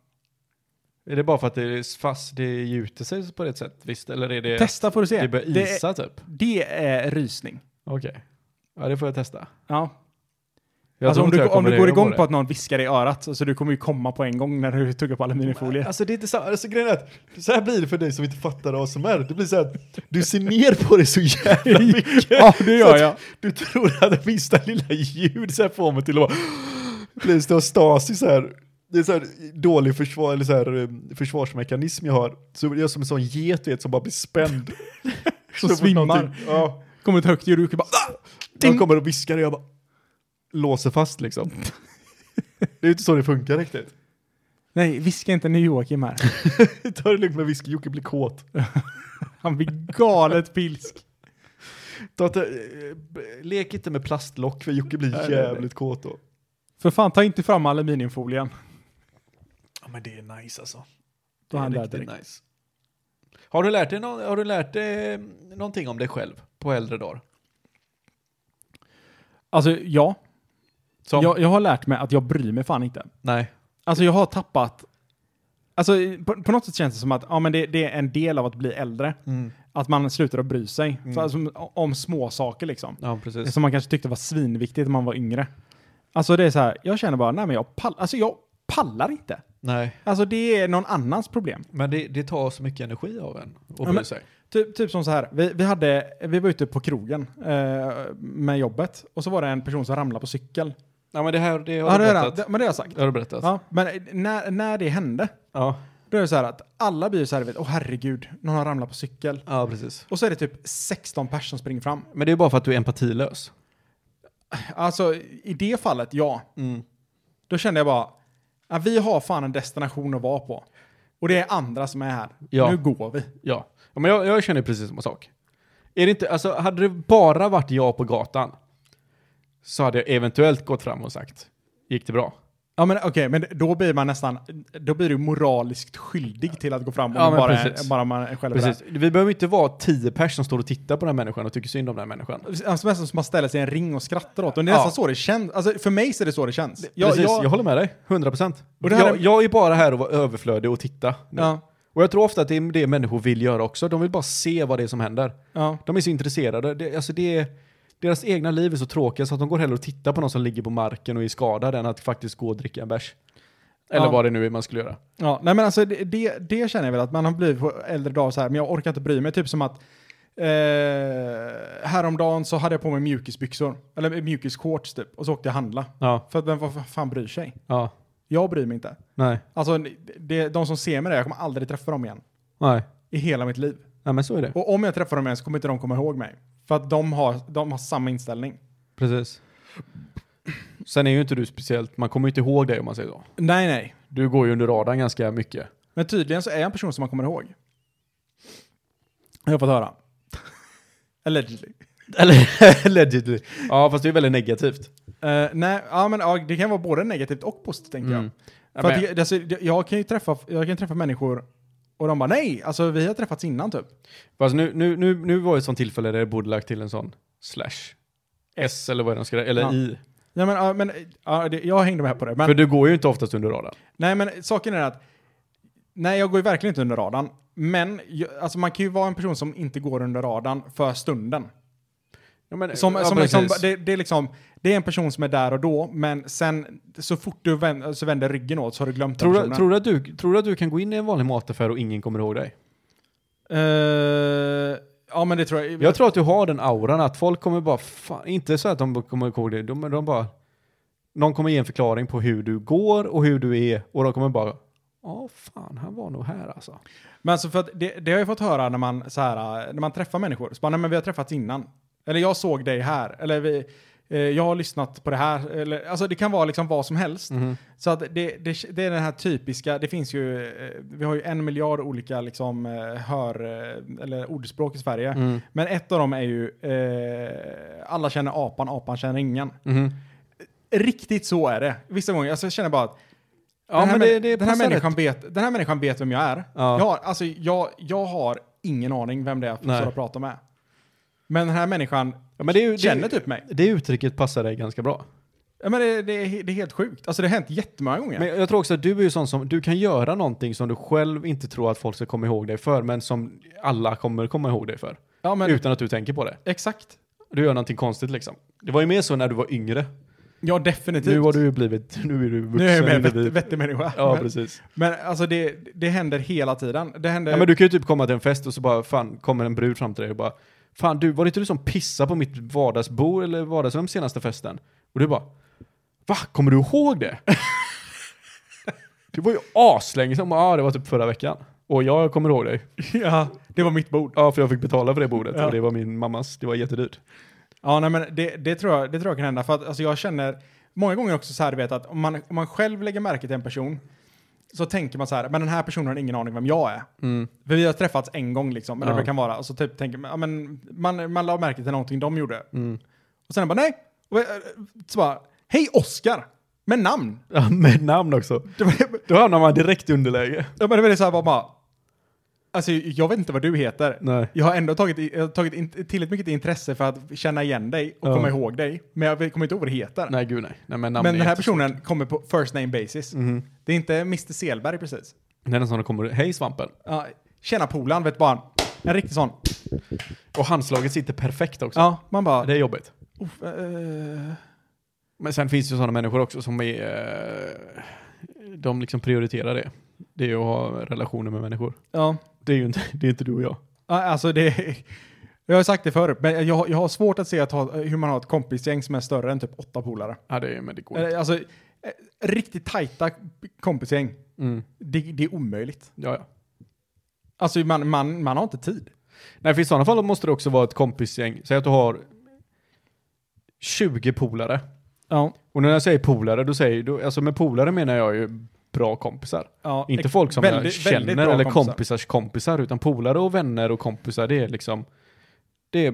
Speaker 3: Är det bara för att det är fast, det gjuter sig på ett sätt? Visst? Eller är det...
Speaker 4: Testa får du se.
Speaker 3: Det börjar
Speaker 4: Det är-
Speaker 3: isa typ?
Speaker 4: Det är rysning.
Speaker 3: Okej. Ja, det får jag testa.
Speaker 4: Ja.
Speaker 3: Jag
Speaker 4: alltså
Speaker 3: tror
Speaker 4: om
Speaker 3: inte
Speaker 4: du,
Speaker 3: jag
Speaker 4: om
Speaker 3: kommer
Speaker 4: du går
Speaker 3: reagera
Speaker 4: igång på
Speaker 3: det.
Speaker 4: att någon viskar i örat, så du kommer ju komma på en gång när du tuggar på aluminiumfolie.
Speaker 3: Alltså det är inte samma, alltså grejen är att så här blir det för dig som inte fattar ASMR. Det blir så att du ser ner på det så jävla mycket.
Speaker 4: Ja, det
Speaker 3: Så
Speaker 4: gör
Speaker 3: att
Speaker 4: jag.
Speaker 3: Du tror att det minsta lilla ljud så här får mig till att bara... Blir stå Stasi så här. Det är så här dålig försvar, eller så här, eh, försvarsmekanism jag har. Så jag är som en sån get vet, som bara blir spänd.
Speaker 4: Så
Speaker 3: Så fort
Speaker 4: svimmar.
Speaker 3: någonting- Ja.
Speaker 4: Kommer ett högt ljud och du kan bara... "Ah!"
Speaker 3: De kommer och viskar och jag bara låser fast liksom. Det är ju inte så det funkar riktigt.
Speaker 4: Nej, viska inte nu Joakim här.
Speaker 3: Ta det lugnt med whisky, Jocke blir kåt.
Speaker 4: Han blir galet pilsk.
Speaker 3: Ta inte, eh, b- lek inte med plastlock för Jocke blir
Speaker 4: Nej, nej,
Speaker 3: jävligt kåt då.
Speaker 4: För fan, ta inte fram aluminiumfolien.
Speaker 3: Ja, men det är nice alltså. Det
Speaker 4: Då
Speaker 3: är
Speaker 4: han där
Speaker 3: riktigt
Speaker 4: direkt.
Speaker 3: nice. Har du lärt dig, nå- har du lärt dig eh, någonting om dig själv på äldre dagar?
Speaker 4: Alltså ja,
Speaker 3: Som,
Speaker 4: jag, jag har lärt mig att jag bryr mig fan inte.
Speaker 3: nej.
Speaker 4: Alltså jag har tappat... Alltså på, på något sätt känns det som att ja, men det, det är en del av att bli äldre.
Speaker 3: Mm.
Speaker 4: Att man slutar att bry sig. För, alltså, om- om små saker liksom.
Speaker 3: Ja, precis.
Speaker 4: Som man kanske tyckte var svinviktigt när man var yngre. Alltså det är så här, jag känner bara, nej men jag pallar, alltså jag pallar inte.
Speaker 3: Nej,
Speaker 4: Alltså det är någon annans problem.
Speaker 3: men det, det tar så mycket energi av en att bry
Speaker 4: men-
Speaker 3: sig.
Speaker 4: Typ, typ som så här, vi, vi, hade, vi var ute på krogen eh, med jobbet och så var det en person som ramlade på cykel.
Speaker 3: Ja, men det här det har
Speaker 4: Ja,
Speaker 3: du
Speaker 4: det har jag-
Speaker 3: berättat.
Speaker 4: det, men det har jag sagt.
Speaker 3: Det har du berättat.
Speaker 4: Ja, men eh, när, när det hände,
Speaker 3: ja.
Speaker 4: då är det så här att alla blir så här, vet, åh herregud, någon har ramlat på cykel.
Speaker 3: Ja, precis.
Speaker 4: Och så är det typ 16 personer som springer fram.
Speaker 3: Men det är bara för att du är empatilös.
Speaker 4: Alltså i det fallet, ja.
Speaker 3: Mm.
Speaker 4: Då kände jag bara, ja, vi har fan en destination att vara på. Och det är andra som är här.
Speaker 3: Ja.
Speaker 4: Nu går vi.
Speaker 3: Ja, Ja, men jag, jag känner precis samma sak. Är det inte, alltså, hade det bara varit jag på gatan så hade jag eventuellt gått fram och sagt, gick det bra?
Speaker 4: Ja men okej, men då blir man nästan, då blir du moraliskt skyldig till att gå fram om
Speaker 3: Ja,
Speaker 4: man
Speaker 3: men
Speaker 4: bara, är,
Speaker 3: precis.
Speaker 4: bara man är själv
Speaker 3: Precis. Vi behöver inte vara tio personer som står och tittar på den här människan och tycker synd om den här människan.
Speaker 4: där. Alltså nästan som man ställer sig i en ring och skrattar åt. Och det är
Speaker 3: Ja.
Speaker 4: nästan så det känns. Alltså för mig så är det så det känns. Jag,
Speaker 3: precis, jag,
Speaker 4: jag,
Speaker 3: håller med dig, 100%. procent.
Speaker 4: Och det här
Speaker 3: Jag,
Speaker 4: är-
Speaker 3: jag är bara här och vara överflödig och titta. nu.
Speaker 4: ja,
Speaker 3: Och jag tror ofta att det är det människor vill göra också. De vill bara se vad det är som händer.
Speaker 4: ja.
Speaker 3: De är så intresserade. Det, alltså det, är- deras egna liv är så tråkiga så att de går hellre och tittar på någon som ligger på marken och är skadad än att faktiskt gå och dricka en bärs. Eller
Speaker 4: Ja.
Speaker 3: vad det nu är man skulle göra.
Speaker 4: Ja, nej men alltså det, det, det känner jag väl att man har blivit på äldre dagar så här, men jag orkar inte bry mig. Typ som att eh, häromdagen så hade jag på mig mjukisbyxor, eller mjukisshorts typ, och så åkte jag handla.
Speaker 3: Ja,
Speaker 4: För att vem vad fan bryr sig?
Speaker 3: ja,
Speaker 4: Jag bryr mig inte.
Speaker 3: nej,
Speaker 4: Alltså det, de som ser mig där, jag kommer aldrig träffa dem igen.
Speaker 3: nej.
Speaker 4: I hela mitt liv.
Speaker 3: Nej men så är det.
Speaker 4: Och om jag träffar dem igen så kommer inte de komma ihåg mig. För att de har, de har samma inställning.
Speaker 3: Precis. Sen är ju inte du speciellt, man kommer ju inte ihåg dig om man säger så.
Speaker 4: Nej, nej.
Speaker 3: Du går ju under radarn ganska mycket.
Speaker 4: Men tydligen så är jag en person som man kommer ihåg. Jag har fått höra. Allegedly.
Speaker 3: Eller, allegedly. Ja, fast det är väldigt negativt.
Speaker 4: Eh, nej, ja, men, ja, det kan vara både negativt och positivt tänker
Speaker 3: Mm.
Speaker 4: jag.
Speaker 3: Ja,
Speaker 4: För
Speaker 3: men,
Speaker 4: att, jag- alltså, jag- jag, kan ju träffa, jag kan träffa människor och de bara nej, alltså vi har träffats innan typ.
Speaker 3: fast nu, nu, nu, nu var det ett sånt tillfälle där det borde lagt till en sån slash. S eller vad är det de ska eller
Speaker 4: Ja.
Speaker 3: I.
Speaker 4: Ja, men, ja, men, ja, det, jag hängde med på det. Men,
Speaker 3: För du går ju inte oftast under radarn.
Speaker 4: Nej, men saken är att nej, jag går ju verkligen inte under radarn. Men jag, alltså, man kan ju vara en person som inte går under radarn för stunden. Som, som liksom, det, det, är liksom, det är en person som är där och då, men sen så fort du vänder, så vänder ryggen åt så har du glömt
Speaker 3: tror,
Speaker 4: den
Speaker 3: du,
Speaker 4: personen.
Speaker 3: tror, du att du, tror du att du kan gå in i en vanlig mataffär och ingen kommer ihåg dig?
Speaker 4: Eh, ja, men det tror jag.
Speaker 3: Jag tror att du har den auran att folk kommer bara, fan, inte så att de kommer ihåg dig, de, de bara, någon kommer ge en förklaring på hur du går och hur du är och de kommer bara, ja fan han var nog här alltså.
Speaker 4: Men alltså för att det, det har jag fått höra när man, så här, äh, när man träffar människor. Så bara, nej men vi har träffats innan. Eller jag såg dig här. Eller vi, eh, jag har lyssnat på det här. Eller, alltså det kan vara liksom vad som helst.
Speaker 3: Mm. Mm-hmm.
Speaker 4: Så att det, det, det är den här typiska, det finns ju, eh, vi har ju en miljard olika liksom eh, hör, eh, eller ordspråk i Sverige.
Speaker 3: Mm.
Speaker 4: Men ett av dem är ju, eh, alla känner apan, apan känner ingen.
Speaker 3: Mm-hmm.
Speaker 4: Riktigt så är det. Vissa gånger, alltså jag känner bara att
Speaker 3: Ja,
Speaker 4: den, här
Speaker 3: men det-
Speaker 4: män-
Speaker 3: det
Speaker 4: den, här
Speaker 3: passar
Speaker 4: människan vet, den här människan vet vem jag är.
Speaker 3: Ja.
Speaker 4: Jag, har, alltså, jag, jag har ingen aning vem det är jag
Speaker 3: Nej.
Speaker 4: står och pratar med. Men den här människan
Speaker 3: Ja, men det, är ju-
Speaker 4: känner
Speaker 3: det,
Speaker 4: typ mig.
Speaker 3: det uttrycket passar dig ganska bra.
Speaker 4: Ja, men det, det, är, he- det är helt sjukt. Alltså det har hänt jättemånga gånger.
Speaker 3: Men jag tror också att du är ju sån som, du kan göra någonting som du själv inte tror att folk ska komma ihåg dig för, men som alla kommer komma ihåg dig för.
Speaker 4: ja, men
Speaker 3: Utan att du tänker på det.
Speaker 4: exakt.
Speaker 3: Du gör någonting konstigt liksom. Det var ju mer så när du var yngre.
Speaker 4: Ja, definitivt.
Speaker 3: Nu har du ju blivit, nu är du vuxen.
Speaker 4: Nu är jag mer vett,
Speaker 3: individ.
Speaker 4: vettig människa.
Speaker 3: Ja,
Speaker 4: men,
Speaker 3: precis.
Speaker 4: men alltså det, det händer hela tiden. Det händer...
Speaker 3: Ja, men du kan ju typ komma till en fest och så bara, fan, kommer en brud fram till dig och bara, fan du, var det inte du som pissade på mitt vardagsbord eller vardagsrum senaste festen? Och du bara, va? Kommer du ihåg det? det var ju aslänge sedan. Hon bara, Ja, det var typ förra veckan. Och jag kommer ihåg dig.
Speaker 4: ja, det var mitt bord.
Speaker 3: Ja, för jag fick betala för det bordet
Speaker 4: Ja.
Speaker 3: och det var min mammas. Det var jättedyrt.
Speaker 4: Ja, nej, men det, det, tror jag, det tror jag kan hända. För att alltså, jag känner många gånger också så här, du vet att om man, om man själv lägger märke till en person så tänker man så här, men den här personen har ingen aning vem jag är. För vi har träffats en gång liksom, eller
Speaker 3: Mm. Ja.
Speaker 4: vad det kan vara. Och så typ tänker man, ja, men man, man la
Speaker 3: Mm.
Speaker 4: märke till någonting de gjorde. Och sen bara, nej! Och, eh, så bara, hej Oscar! Med namn.
Speaker 3: Ja, med namn också.
Speaker 4: Det var,
Speaker 3: Då hamnar man direkt i underläge.
Speaker 4: Ja, men det var så här bara, bara Alltså jag vet inte vad du heter.
Speaker 3: Nej.
Speaker 4: Jag har ändå tagit, i- jag har tagit in, tillräckligt mycket intresse för att känna igen dig och
Speaker 3: Ja.
Speaker 4: komma ihåg dig. Men jag vet- kommer inte ihåg vad du heter.
Speaker 3: Nej, gud nej. nej men namn
Speaker 4: men den
Speaker 3: är
Speaker 4: här
Speaker 3: jättes-
Speaker 4: personen kommer på first name basis.
Speaker 3: Mhm.
Speaker 4: Det är inte Mr Selberg precis.
Speaker 3: Det är den som kommer, hej svampen.
Speaker 4: Ja, tjena polaren, vet bara. En riktig sån.
Speaker 3: Och handslaget sitter perfekt också.
Speaker 4: Ja, man bara...
Speaker 3: Det är jobbigt.
Speaker 4: "Uff, eh,
Speaker 3: Men sen finns det ju sådana människor också som är... eh, De liksom prioriterar det. Det är ju att ha relationer med människor.
Speaker 4: ja.
Speaker 3: Det är ju inte, det är inte du och jag.
Speaker 4: Ja, Alltså det... Jag har sagt det förut, men jag, jag har svårt att se att ha, hur man har ett kompisgäng som är större än typ åtta polare.
Speaker 3: Ja, det är, men det går inte.
Speaker 4: Eh, Alltså, eh, riktigt tajta kompisgäng.
Speaker 3: Mm.
Speaker 4: Det, det är omöjligt.
Speaker 3: Ja, ja.
Speaker 4: Alltså man, man, man har inte tid.
Speaker 3: Nej, för i sådana fall måste det också vara ett kompisgäng. Säg att du har 20 polare.
Speaker 4: Ja.
Speaker 3: Och när jag säger polare, då säger du, alltså med polare menar jag ju bra kompisar.
Speaker 4: ja
Speaker 3: Inte
Speaker 4: ex-
Speaker 3: folk som jag
Speaker 4: väldigt-
Speaker 3: känner
Speaker 4: väldigt bra
Speaker 3: eller
Speaker 4: kompisar.
Speaker 3: kompisars kompisar, utan polare och vänner och kompisar, det är liksom, det är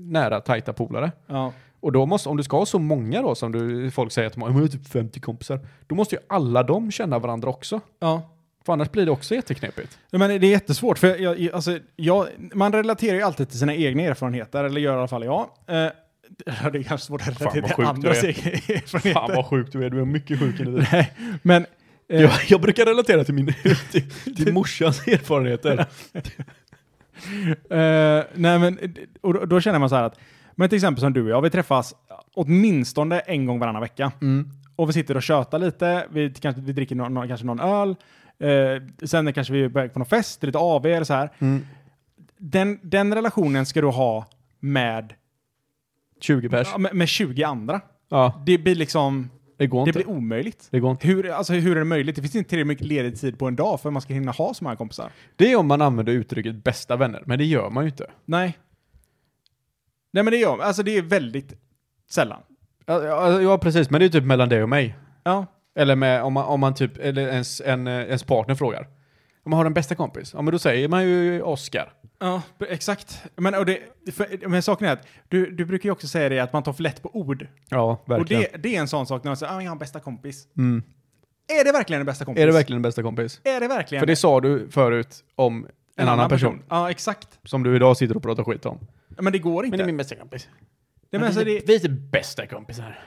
Speaker 3: nära tajta polare.
Speaker 4: Ja.
Speaker 3: Och då måste, om du ska ha så många då som du, folk säger att man har typ 50 kompisar, då måste ju alla de känna varandra också.
Speaker 4: ja.
Speaker 3: För annars blir det också jätteknepigt.
Speaker 4: Ja, Men det är jättesvårt, för jag, jag, alltså, jag, man relaterar ju alltid till sina egna erfarenheter, eller gör i alla fall jag. Eh, det är kanske svårt att
Speaker 3: vad
Speaker 4: relatera till
Speaker 3: sjukt
Speaker 4: andras
Speaker 3: du är.
Speaker 4: egna
Speaker 3: Fan
Speaker 4: erfarenheter.
Speaker 3: vad sjuk du är, du är mycket sjuk i
Speaker 4: Nej, men eh,
Speaker 3: jag, jag brukar relatera till min till, till morsans erfarenheter.
Speaker 4: Eh, nej men, och då, då känner man så här att, men till exempel som du och jag, vi träffas åtminstone en gång varannan vecka.
Speaker 3: Mm.
Speaker 4: Och vi sitter och tjötar lite, vi, kanske, vi dricker någon, någon, kanske någon öl, eh, sen kanske vi är på väg på någon fest, lite AV eller så här.
Speaker 3: Mm.
Speaker 4: Den, den relationen ska du ha med,
Speaker 3: 20 pers.
Speaker 4: ja, med, med 20 andra.
Speaker 3: Ja,
Speaker 4: Det blir liksom,
Speaker 3: det går
Speaker 4: det
Speaker 3: inte.
Speaker 4: blir omöjligt.
Speaker 3: Det går inte.
Speaker 4: Hur, alltså hur är det möjligt? Det finns inte tillräckligt mycket ledig tid på en dag för att man ska hinna ha så många kompisar.
Speaker 3: Det är om man använder uttrycket bästa vänner, men det gör man ju inte.
Speaker 4: Nej. Nej men det gör, alltså det är väldigt sällan.
Speaker 3: Ja, ja, ja, precis, men det är typ mellan dig och mig.
Speaker 4: Ja,
Speaker 3: Eller med, om, man, om man typ, eller ens, en, eh, ens partner frågar. Om man har en bästa kompis, ja men då säger man ju Oscar.
Speaker 4: ja b- exakt. Men, och det, för, men saken är att du, du brukar ju också säga det att man tar för lätt på ord.
Speaker 3: Ja,
Speaker 4: Och det, det är en sån sak när man säger ah, jag har en bästa kompis.
Speaker 3: Mm.
Speaker 4: Är det verkligen en bästa kompis?
Speaker 3: Är det verkligen en bästa kompis?
Speaker 4: Är det verkligen
Speaker 3: För det sa du förut om en, annan, person,
Speaker 4: Ja, exakt.
Speaker 3: som du idag sitter och pratar skit om.
Speaker 4: Men det går inte. Men,
Speaker 3: bästa kompis.
Speaker 4: men, alltså, det,
Speaker 3: Vi är typ bästa kompisar.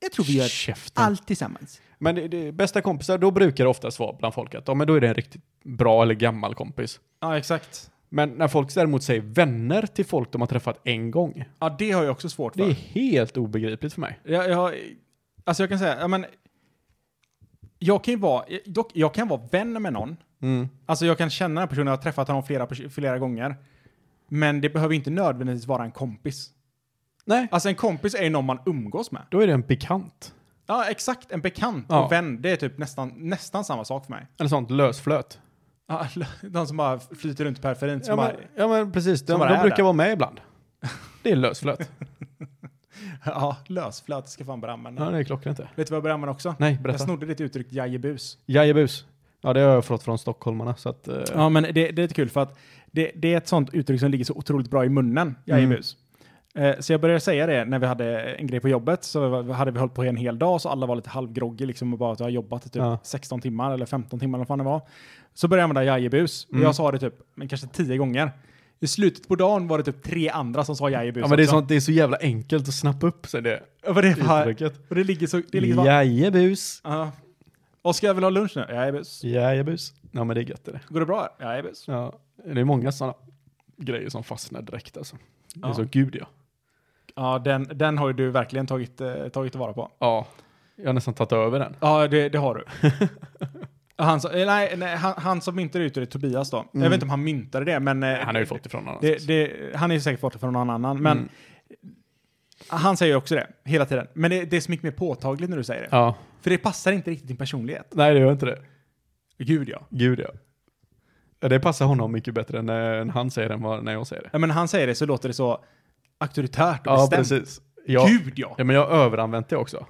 Speaker 4: jag tror vi gör
Speaker 3: Käften.
Speaker 4: allt tillsammans.
Speaker 3: Men det, det, bästa kompisar, då brukar det oftast vara bland folk att ja, men då är det en riktigt bra eller gammal kompis.
Speaker 4: Ja, exakt.
Speaker 3: Men när folk däremot säger vänner till folk de har träffat en gång,
Speaker 4: Ja, det har jag också svårt
Speaker 3: det
Speaker 4: för.
Speaker 3: är helt obegripligt för mig.
Speaker 4: Jag, jag, alltså jag kan säga, ja, men, jag kan ju vara, jag- dock, jag kan vara vän med någon.
Speaker 3: Mm.
Speaker 4: Alltså jag kan känna den här personen, jag har träffat honom flera, pers- flera gånger. Men det behöver inte nödvändigtvis vara en kompis.
Speaker 3: Nej.
Speaker 4: Alltså en kompis är ju någon man umgås med.
Speaker 3: Då är det en bekant.
Speaker 4: Ja, exakt. En bekant
Speaker 3: Ja.
Speaker 4: och vän, det är typ nästan, nästan samma sak för mig.
Speaker 3: Eller sånt lösflöt.
Speaker 4: Ja, De som bara flyter runt i periferin. Som
Speaker 3: Ja
Speaker 4: bara,
Speaker 3: men, ja, men precis, de,
Speaker 4: som bara
Speaker 3: de
Speaker 4: är
Speaker 3: brukar
Speaker 4: där.
Speaker 3: vara med ibland. Det är lösflöt.
Speaker 4: ja, lösflöt ska fan börja använda.
Speaker 3: ja, det är klockrent inte.
Speaker 4: Vet du vad jag började använda också?
Speaker 3: Nej,
Speaker 4: Jag
Speaker 3: berätta.
Speaker 4: snodde ditt uttryck jajebus.
Speaker 3: Jajebus. Ja, det har jag fått från stockholmarna, så att... eh,
Speaker 4: Ja, men det, det är lite kul för att det, det är ett sånt uttryck som ligger så otroligt bra i munnen,
Speaker 3: Mm.
Speaker 4: jajebus. Eh, så jag började säga det när vi hade en grej på jobbet, så var- hade vi hållit på en hel dag, så alla var lite halvgroggy liksom och bara att jag har jobbat i typ
Speaker 3: Ja.
Speaker 4: 16 timmar eller 15 timmar eller vad fan det var. Så började jag använda jajebus, och
Speaker 3: Mm.
Speaker 4: jag sa det typ men kanske tio gånger. I slutet på dagen var det typ tre andra som sa jajebus
Speaker 3: Ja, men det är,
Speaker 4: också.
Speaker 3: sånt, det är så jävla enkelt att snappa upp sig det
Speaker 4: Ja, men det är fan-
Speaker 3: uttrycket.
Speaker 4: och det ligger så... Det ligger så
Speaker 3: Jajebus.
Speaker 4: ja. Oskar, jag vill ha lunch nu. Jajebus.
Speaker 3: Jajebus. Ja, men det är gött det.
Speaker 4: Går det bra? här? Jajebus.
Speaker 3: Ja, det är många sådana grejer som fastnar direkt alltså. Det är
Speaker 4: Ja.
Speaker 3: så, gud ja.
Speaker 4: Ja, den, den har ju du verkligen tagit, eh, tagit vara på.
Speaker 3: Ja, jag har nästan tagit över den.
Speaker 4: Ja, det, det har du. han, som, eh, nej, nej, han, han som myntade ut det, Tobias då. Jag
Speaker 3: Mm.
Speaker 4: vet inte om han myntade det, men... eh,
Speaker 3: Han har ju fått ifrån någon
Speaker 4: det, det, Han är ju säkert fått det från någon annan,
Speaker 3: Mm.
Speaker 4: men... Han säger ju också det, hela tiden. Men det, det är så mycket mer påtagligt när du säger det.
Speaker 3: Ja,
Speaker 4: För det passar inte riktigt din personlighet.
Speaker 3: nej det gör inte det.
Speaker 4: Gud ja.
Speaker 3: Gud ja. ja. Det passar honom mycket bättre än, eh, än han säger än vad, när jag säger det.
Speaker 4: ja. Men han säger det så låter det så auktoritärt och
Speaker 3: Ja,
Speaker 4: bestämt.
Speaker 3: precis. Jag,
Speaker 4: Gud ja!
Speaker 3: ja, men jag har överanvänt det också.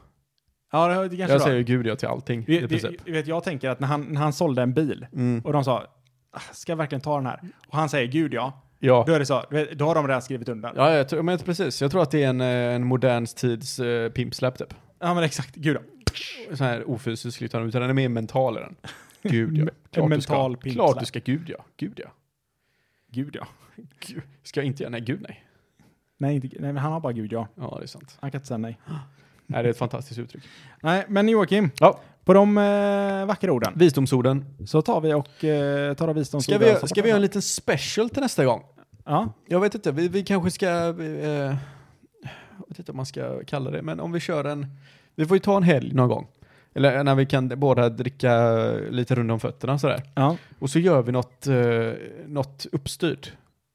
Speaker 4: Ja, det, det kanske
Speaker 3: Jag
Speaker 4: det
Speaker 3: säger ju gud ja till allting
Speaker 4: Vi-
Speaker 3: i
Speaker 4: vi-
Speaker 3: princip.
Speaker 4: vi vet, jag tänker att när han, när han sålde en bil
Speaker 3: Mm.
Speaker 4: och de sa "Ah, ska jag verkligen ta den här? Och han säger gud ja.
Speaker 3: Ja.
Speaker 4: Då är det så, du vet, då har de redan skrivit under. Ja,
Speaker 3: Ja, jag tror, men precis. Jag tror att det är en, eh, en modern tids uh, eh, pimpsläpp typ.
Speaker 4: men exakt, gud ja.
Speaker 3: så här ofysisk utan utan den är mer mental är den. Gud ja.
Speaker 4: En mental
Speaker 3: du ska,
Speaker 4: pinsla.
Speaker 3: Klart du ska, gud ja. Gud ja.
Speaker 4: Gud ja.
Speaker 3: Gud, ska jag inte göra, nej gud nej.
Speaker 4: Nej, inte, nej, men han har bara gud ja.
Speaker 3: Ja det är sant.
Speaker 4: Han kan inte säga nej.
Speaker 3: Nej, det är ett fantastiskt uttryck.
Speaker 4: Nej, men Joakim.
Speaker 3: Ja.
Speaker 4: På de eh, vackra orden
Speaker 3: Visdomsorden.
Speaker 4: så tar vi och eh, tar av visdomsorden.
Speaker 3: Ska vi,
Speaker 4: och så-
Speaker 3: ska vi göra en liten special till nästa gång?
Speaker 4: Ja,
Speaker 3: Jag vet inte, vi, vi kanske ska... Eh, jag vet inte om man ska kalla det, men om vi kör en... Vi får ju ta en helg någon gång. Eller när vi kan båda dricka lite runt om fötterna sådär.
Speaker 4: ja.
Speaker 3: Och så gör vi något, eh, något uppstyrt.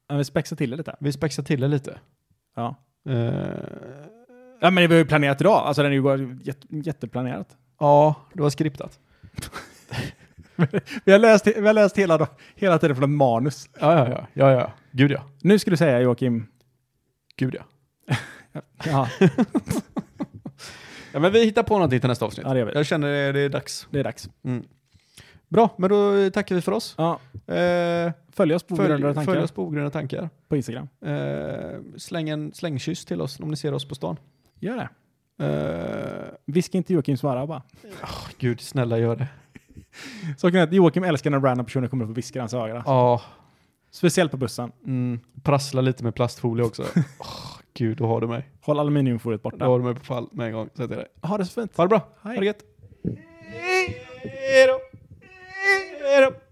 Speaker 4: Ja, Vi spexar till det lite.
Speaker 3: Vi spexar till det lite.
Speaker 4: Ja.
Speaker 3: Eh,
Speaker 4: Ja, men vi har ju planerat idag. Alltså den är ju bara jätte, jätteplanerat.
Speaker 3: ja, det var skriptat.
Speaker 4: Vi har läst, vi har läst hela, dag- hela tiden från manus.
Speaker 3: Ja, ja, ja, ja, ja. Gud ja.
Speaker 4: Nu ska du säga Joakim.
Speaker 3: Gud ja.
Speaker 4: Ja,
Speaker 3: ja men vi hittar på någonting till nästa avsnitt.
Speaker 4: Ja, det gör vi.
Speaker 3: Jag känner det, det är dags.
Speaker 4: det är dags.
Speaker 3: Bra, men då tackar vi för oss.
Speaker 4: Ja,
Speaker 3: Eh,
Speaker 4: följ oss på Ogrundade
Speaker 3: följ,
Speaker 4: tankar
Speaker 3: följ oss på Ogrundade tankar.
Speaker 4: på Instagram.
Speaker 3: Eh, släng en slängkyss till oss om ni ser oss på stan.
Speaker 4: Gör det.
Speaker 3: Eh,
Speaker 4: Viska inte Joakim svara bara.
Speaker 3: gud, snälla gör det.
Speaker 4: Saken är att Joakim älskar när random personer kommer upp och viskar i hans öga.
Speaker 3: Ja,
Speaker 4: Speciellt på bussen.
Speaker 3: mm, prassla lite med plastfolie också. Åh, gud, då har du mig.
Speaker 4: Håll aluminiumfoliet
Speaker 3: Då
Speaker 4: borta.
Speaker 3: har du mig på fall med en gång. Så jag till dig.
Speaker 4: Ha det så fint.
Speaker 3: Ha det bra.
Speaker 4: Hej.
Speaker 3: Ha det gött. Hej då. Hej då.